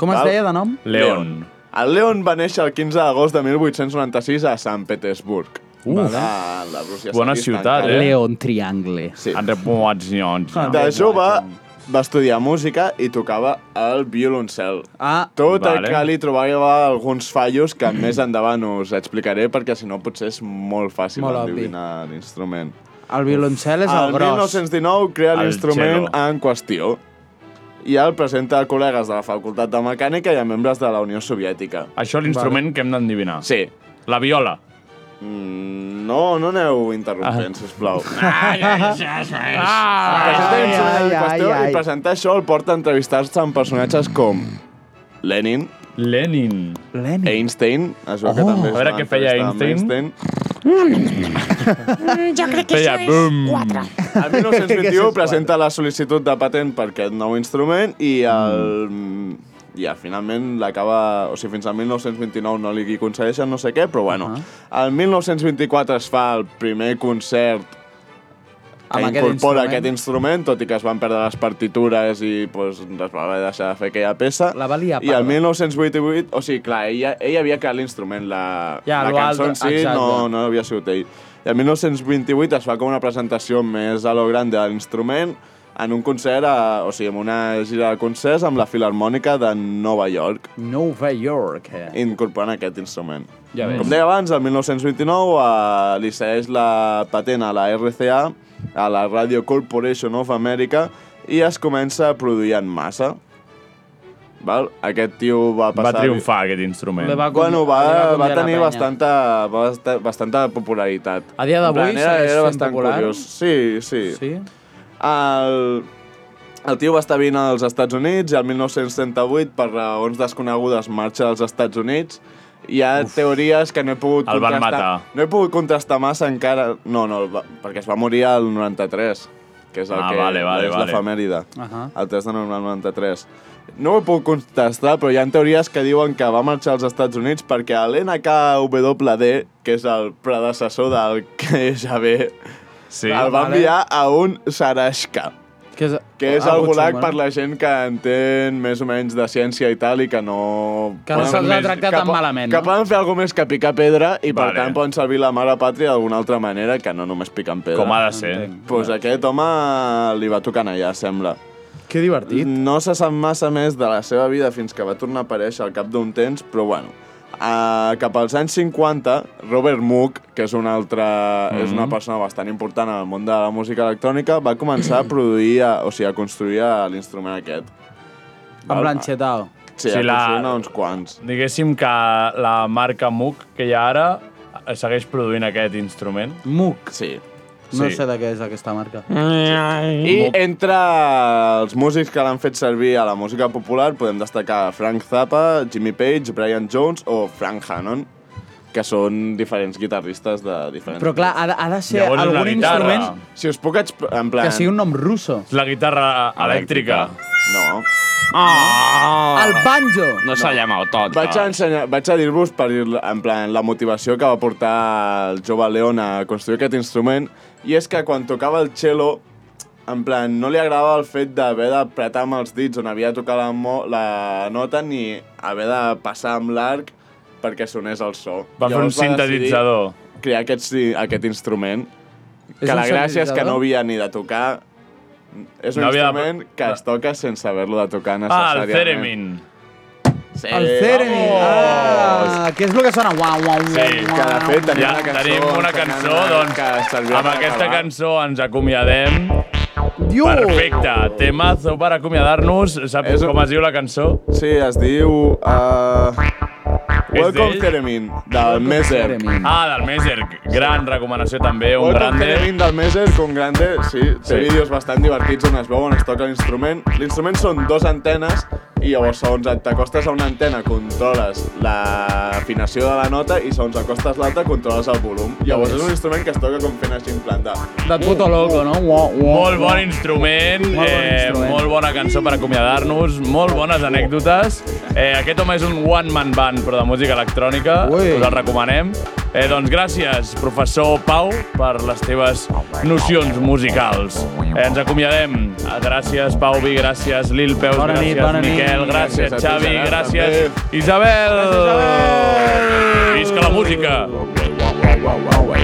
[SPEAKER 8] Com es
[SPEAKER 9] Val?
[SPEAKER 8] deia de nom?
[SPEAKER 2] León.
[SPEAKER 9] El Leon va néixer el 15 d'agost de 1896 a Sant Petersburg.
[SPEAKER 2] Uf.
[SPEAKER 9] a la Rússia
[SPEAKER 2] Bona
[SPEAKER 9] tsarista
[SPEAKER 2] ciutat,
[SPEAKER 9] encara.
[SPEAKER 2] eh?
[SPEAKER 8] Triangle.
[SPEAKER 9] Sí.
[SPEAKER 2] Repuacions.
[SPEAKER 9] Ah, De jove va estudiar música i tocava el violoncel.
[SPEAKER 8] Ah,
[SPEAKER 9] Tot vale.
[SPEAKER 2] vale.
[SPEAKER 9] el que li trobava alguns fallos que més endavant us explicaré perquè si no potser és molt fàcil
[SPEAKER 8] Molt
[SPEAKER 9] molt
[SPEAKER 8] obvi.
[SPEAKER 9] endevinar l'instrument.
[SPEAKER 8] El violoncel és el,
[SPEAKER 9] El
[SPEAKER 8] gros.
[SPEAKER 9] 1919 crea
[SPEAKER 8] El
[SPEAKER 9] l'instrument
[SPEAKER 8] cello.
[SPEAKER 9] en qüestió i el presenta a col·legues de la Facultat de Mecànica i a membres de la Unió Soviètica.
[SPEAKER 2] Això l'instrument que hem d'endevinar.
[SPEAKER 9] Sí.
[SPEAKER 2] La viola.
[SPEAKER 9] Mm, no, no aneu interrompent, ah. sisplau.
[SPEAKER 5] Ah,
[SPEAKER 9] Presentar l'instrument en
[SPEAKER 5] ai,
[SPEAKER 9] qüestió
[SPEAKER 5] ai, ai.
[SPEAKER 9] i presentar això el porta a entrevistar-se amb personatges com Lenin,
[SPEAKER 2] Lenin.
[SPEAKER 8] Lenin.
[SPEAKER 9] Einstein, es veu que
[SPEAKER 2] Oh.
[SPEAKER 9] també
[SPEAKER 2] A veure
[SPEAKER 9] es va
[SPEAKER 2] què feia
[SPEAKER 9] entrevistar amb
[SPEAKER 2] Einstein.
[SPEAKER 5] Mm, jo crec que
[SPEAKER 9] Feia
[SPEAKER 5] això
[SPEAKER 9] bum.
[SPEAKER 5] és 4.
[SPEAKER 9] El 1921 presenta la sol·licitud de patent per aquest nou instrument i el... I ja, finalment l'acaba... O sigui, fins al 1929 no li concedeixen no sé què, però bueno. El 1924 es fa el primer concert que
[SPEAKER 8] Amb aquest
[SPEAKER 9] incorpora
[SPEAKER 8] instrument.
[SPEAKER 9] aquest instrument, tot i que es van perdre les partitures i pues, es va haver de deixar de fer aquella peça. La va
[SPEAKER 8] liar,
[SPEAKER 9] I el
[SPEAKER 8] perdó.
[SPEAKER 9] 1988, o sigui, clar, ella, ella havia creat l'instrument, la,
[SPEAKER 8] Ja,
[SPEAKER 9] la
[SPEAKER 8] lo
[SPEAKER 9] cançó en
[SPEAKER 8] altre,
[SPEAKER 9] si no,
[SPEAKER 8] exacte.
[SPEAKER 9] no havia sigut ell. I el 1928 es fa com una presentació més a lo gran de l'instrument en un concert, a, o sigui, en una gira de concerts amb la Filarmònica de Nova York,
[SPEAKER 8] Nova York. Eh?
[SPEAKER 9] incorporant aquest instrument.
[SPEAKER 8] Ja ves.
[SPEAKER 9] Com deia abans, el 1929 eh, li cedeix la patent a la RCA, a la Radio Corporation of America, i es comença a produir en massa. Val? Aquest tio va
[SPEAKER 2] Va
[SPEAKER 9] passar...
[SPEAKER 2] triomfar, aquest instrument.
[SPEAKER 9] Va bueno,
[SPEAKER 8] li va
[SPEAKER 9] va, va
[SPEAKER 8] convidar la
[SPEAKER 9] tenir
[SPEAKER 8] penya.
[SPEAKER 9] bastanta, basta- bastanta popularitat.
[SPEAKER 8] A dia d'avui
[SPEAKER 9] En plan, era,
[SPEAKER 8] segueix
[SPEAKER 9] era
[SPEAKER 8] sent
[SPEAKER 9] bastant
[SPEAKER 8] popular?
[SPEAKER 9] curiós. Sí, sí.
[SPEAKER 8] Sí?
[SPEAKER 9] El, el tio va estar vint als Estats Units i el 1938, per raons desconegudes, marxa als Estats Units. Hi ha Uf. teories que no he pogut
[SPEAKER 2] El van
[SPEAKER 9] contrastar.
[SPEAKER 2] matar.
[SPEAKER 9] No he pogut contrastar massa encara. No, no, el va, perquè es va morir al 93, que és el
[SPEAKER 2] Ah,
[SPEAKER 9] que
[SPEAKER 2] vale, vale,
[SPEAKER 9] és
[SPEAKER 2] vale.
[SPEAKER 9] l'efemèride.
[SPEAKER 8] Ahà.
[SPEAKER 9] El 3 de novembre del 93. No ho puc contestar, però hi ha teories que diuen que va marxar als Estats Units perquè l'NKWD, que és el predecessor del KGB,
[SPEAKER 2] sí,
[SPEAKER 9] el va
[SPEAKER 8] vale.
[SPEAKER 9] enviar a un Sarashka,
[SPEAKER 8] Que és,
[SPEAKER 9] que és
[SPEAKER 8] Ah,
[SPEAKER 9] el
[SPEAKER 8] pot ser,
[SPEAKER 9] gulag
[SPEAKER 8] bueno.
[SPEAKER 9] per la gent que entén més o menys de ciència i tal, i que no...
[SPEAKER 8] Que no
[SPEAKER 9] poden-
[SPEAKER 8] se'ls ha tractat
[SPEAKER 9] que
[SPEAKER 8] tan
[SPEAKER 9] po-
[SPEAKER 8] malament,
[SPEAKER 9] Que
[SPEAKER 8] no?
[SPEAKER 9] poden fer alguna més que picar pedra, i per
[SPEAKER 2] Vale.
[SPEAKER 9] tant poden servir la mare pàtria d'alguna altra manera que no només picant pedra.
[SPEAKER 2] Com ha de ser.
[SPEAKER 9] Pues aquest home li va tocant allà, sembla.
[SPEAKER 8] Que divertit.
[SPEAKER 9] No se sap massa més de la seva vida fins que va tornar a aparèixer al cap d'un temps, però bueno. Uh, cap als anys 50, Robert Moog, que és una, altra, mm -hmm. és una persona bastant important en el món de la música electrònica, va començar a produir, a, o sigui, a construir eh, l'instrument aquest.
[SPEAKER 8] Amb l'enchetao.
[SPEAKER 9] Sí, sí
[SPEAKER 2] Sí,
[SPEAKER 9] a
[SPEAKER 2] la-
[SPEAKER 9] construir la... uns quants.
[SPEAKER 2] Diguéssim que la marca Moog que hi ha ara eh, segueix produint aquest instrument.
[SPEAKER 8] Moog?
[SPEAKER 9] Sí. Mm.
[SPEAKER 8] No
[SPEAKER 2] Sí.
[SPEAKER 8] sé de què és aquesta marca.
[SPEAKER 9] I entre els músics que l'han fet servir a la música popular podem destacar Frank Zappa, Jimmy Page, Brian Jones o Frank Hannon, que són diferents guitarristes de diferents...
[SPEAKER 8] Però clar, ha de, ha de ser
[SPEAKER 9] Llavors, una
[SPEAKER 8] algun
[SPEAKER 9] guitarra.
[SPEAKER 8] instrument
[SPEAKER 9] Si us puc exp- en plan...
[SPEAKER 8] que sigui un nom russo.
[SPEAKER 2] La guitarra elèctrica.
[SPEAKER 9] No. Ah.
[SPEAKER 16] Oh!
[SPEAKER 8] El banjo!
[SPEAKER 16] No s'ha llamat tot.
[SPEAKER 9] Vaig a, ensenyar, vaig a dir-vos per en plan, la motivació que va portar el jove León a construir aquest instrument i és que quan tocava el cello en plan, no li agradava el fet d'haver d'apretar amb els dits on havia de tocar la, mo la nota ni haver de passar amb l'arc perquè sonés el so.
[SPEAKER 2] Va fer un
[SPEAKER 9] Llavors decidir
[SPEAKER 2] sintetitzador.
[SPEAKER 9] Crear aquest, si- aquest instrument
[SPEAKER 2] És
[SPEAKER 9] que
[SPEAKER 2] un
[SPEAKER 9] la gràcia és que
[SPEAKER 2] sintetitzador?
[SPEAKER 9] no havia ni de tocar és un
[SPEAKER 2] No
[SPEAKER 9] no
[SPEAKER 2] havia de-
[SPEAKER 9] instrument que es toca sense haver-lo de
[SPEAKER 2] Ah,
[SPEAKER 9] tocar
[SPEAKER 2] el
[SPEAKER 9] necessàriament.
[SPEAKER 2] Theremin.
[SPEAKER 9] Sí.
[SPEAKER 8] El Ceremi!
[SPEAKER 9] Vamos.
[SPEAKER 8] Ah, que és el que sona uau, uau, uau.
[SPEAKER 9] Sí, que de fet tenim
[SPEAKER 2] Ja,
[SPEAKER 9] una cançó.
[SPEAKER 2] tenim una cançó, doncs, amb aquesta cançó ens acomiadem.
[SPEAKER 8] Diu!
[SPEAKER 2] Perfecte, temazo per acomiadar-nos. Saps
[SPEAKER 9] És un-
[SPEAKER 2] com es diu la cançó?
[SPEAKER 9] Sí, es diu... Uh,
[SPEAKER 2] És
[SPEAKER 9] Welcome
[SPEAKER 2] d'ell?
[SPEAKER 9] Keremin, del Meser.
[SPEAKER 2] Ah, del Meser. Gran recomanació també, un
[SPEAKER 9] Welcome
[SPEAKER 2] grande.
[SPEAKER 9] Keremin del Meser, con grande, sí, té
[SPEAKER 2] Sí.
[SPEAKER 9] vídeos bastant divertits on es veu on es toca l'instrument. L'instrument són dos antenes i llavors segons et t'acostes a una antena controles l'afinació de la nota i segons acostes l'altra controles el volum. Llavors és un instrument que es toca com fent així en plan de...
[SPEAKER 8] De puto loco, no? Uau, uau,
[SPEAKER 2] Molt
[SPEAKER 8] uau.
[SPEAKER 2] bon instrument,
[SPEAKER 8] Molt bon
[SPEAKER 2] eh,
[SPEAKER 8] instrument.
[SPEAKER 2] molt bona cançó per acomiadar-nos, molt bones anècdotes. Eh, aquest home és un one-man band, però de música electrònica,
[SPEAKER 8] Ui.
[SPEAKER 2] us el recomanem. Eh, doncs gràcies, professor Pau, per les teves nocions musicals. Eh, ens acomiadem. Ah, Gràcies, Pau Vi, gràcies, Lil Peus,
[SPEAKER 8] Bona nit,
[SPEAKER 2] gràcies,
[SPEAKER 8] bona nit.
[SPEAKER 2] Miquel, gràcies,
[SPEAKER 8] Gràcies a tu,
[SPEAKER 2] Xavi,
[SPEAKER 8] Gerard,
[SPEAKER 2] gràcies,
[SPEAKER 8] també.
[SPEAKER 2] Isabel. Gràcies, Isabel. Visca la música. Wow, wow, wow, wow, wow.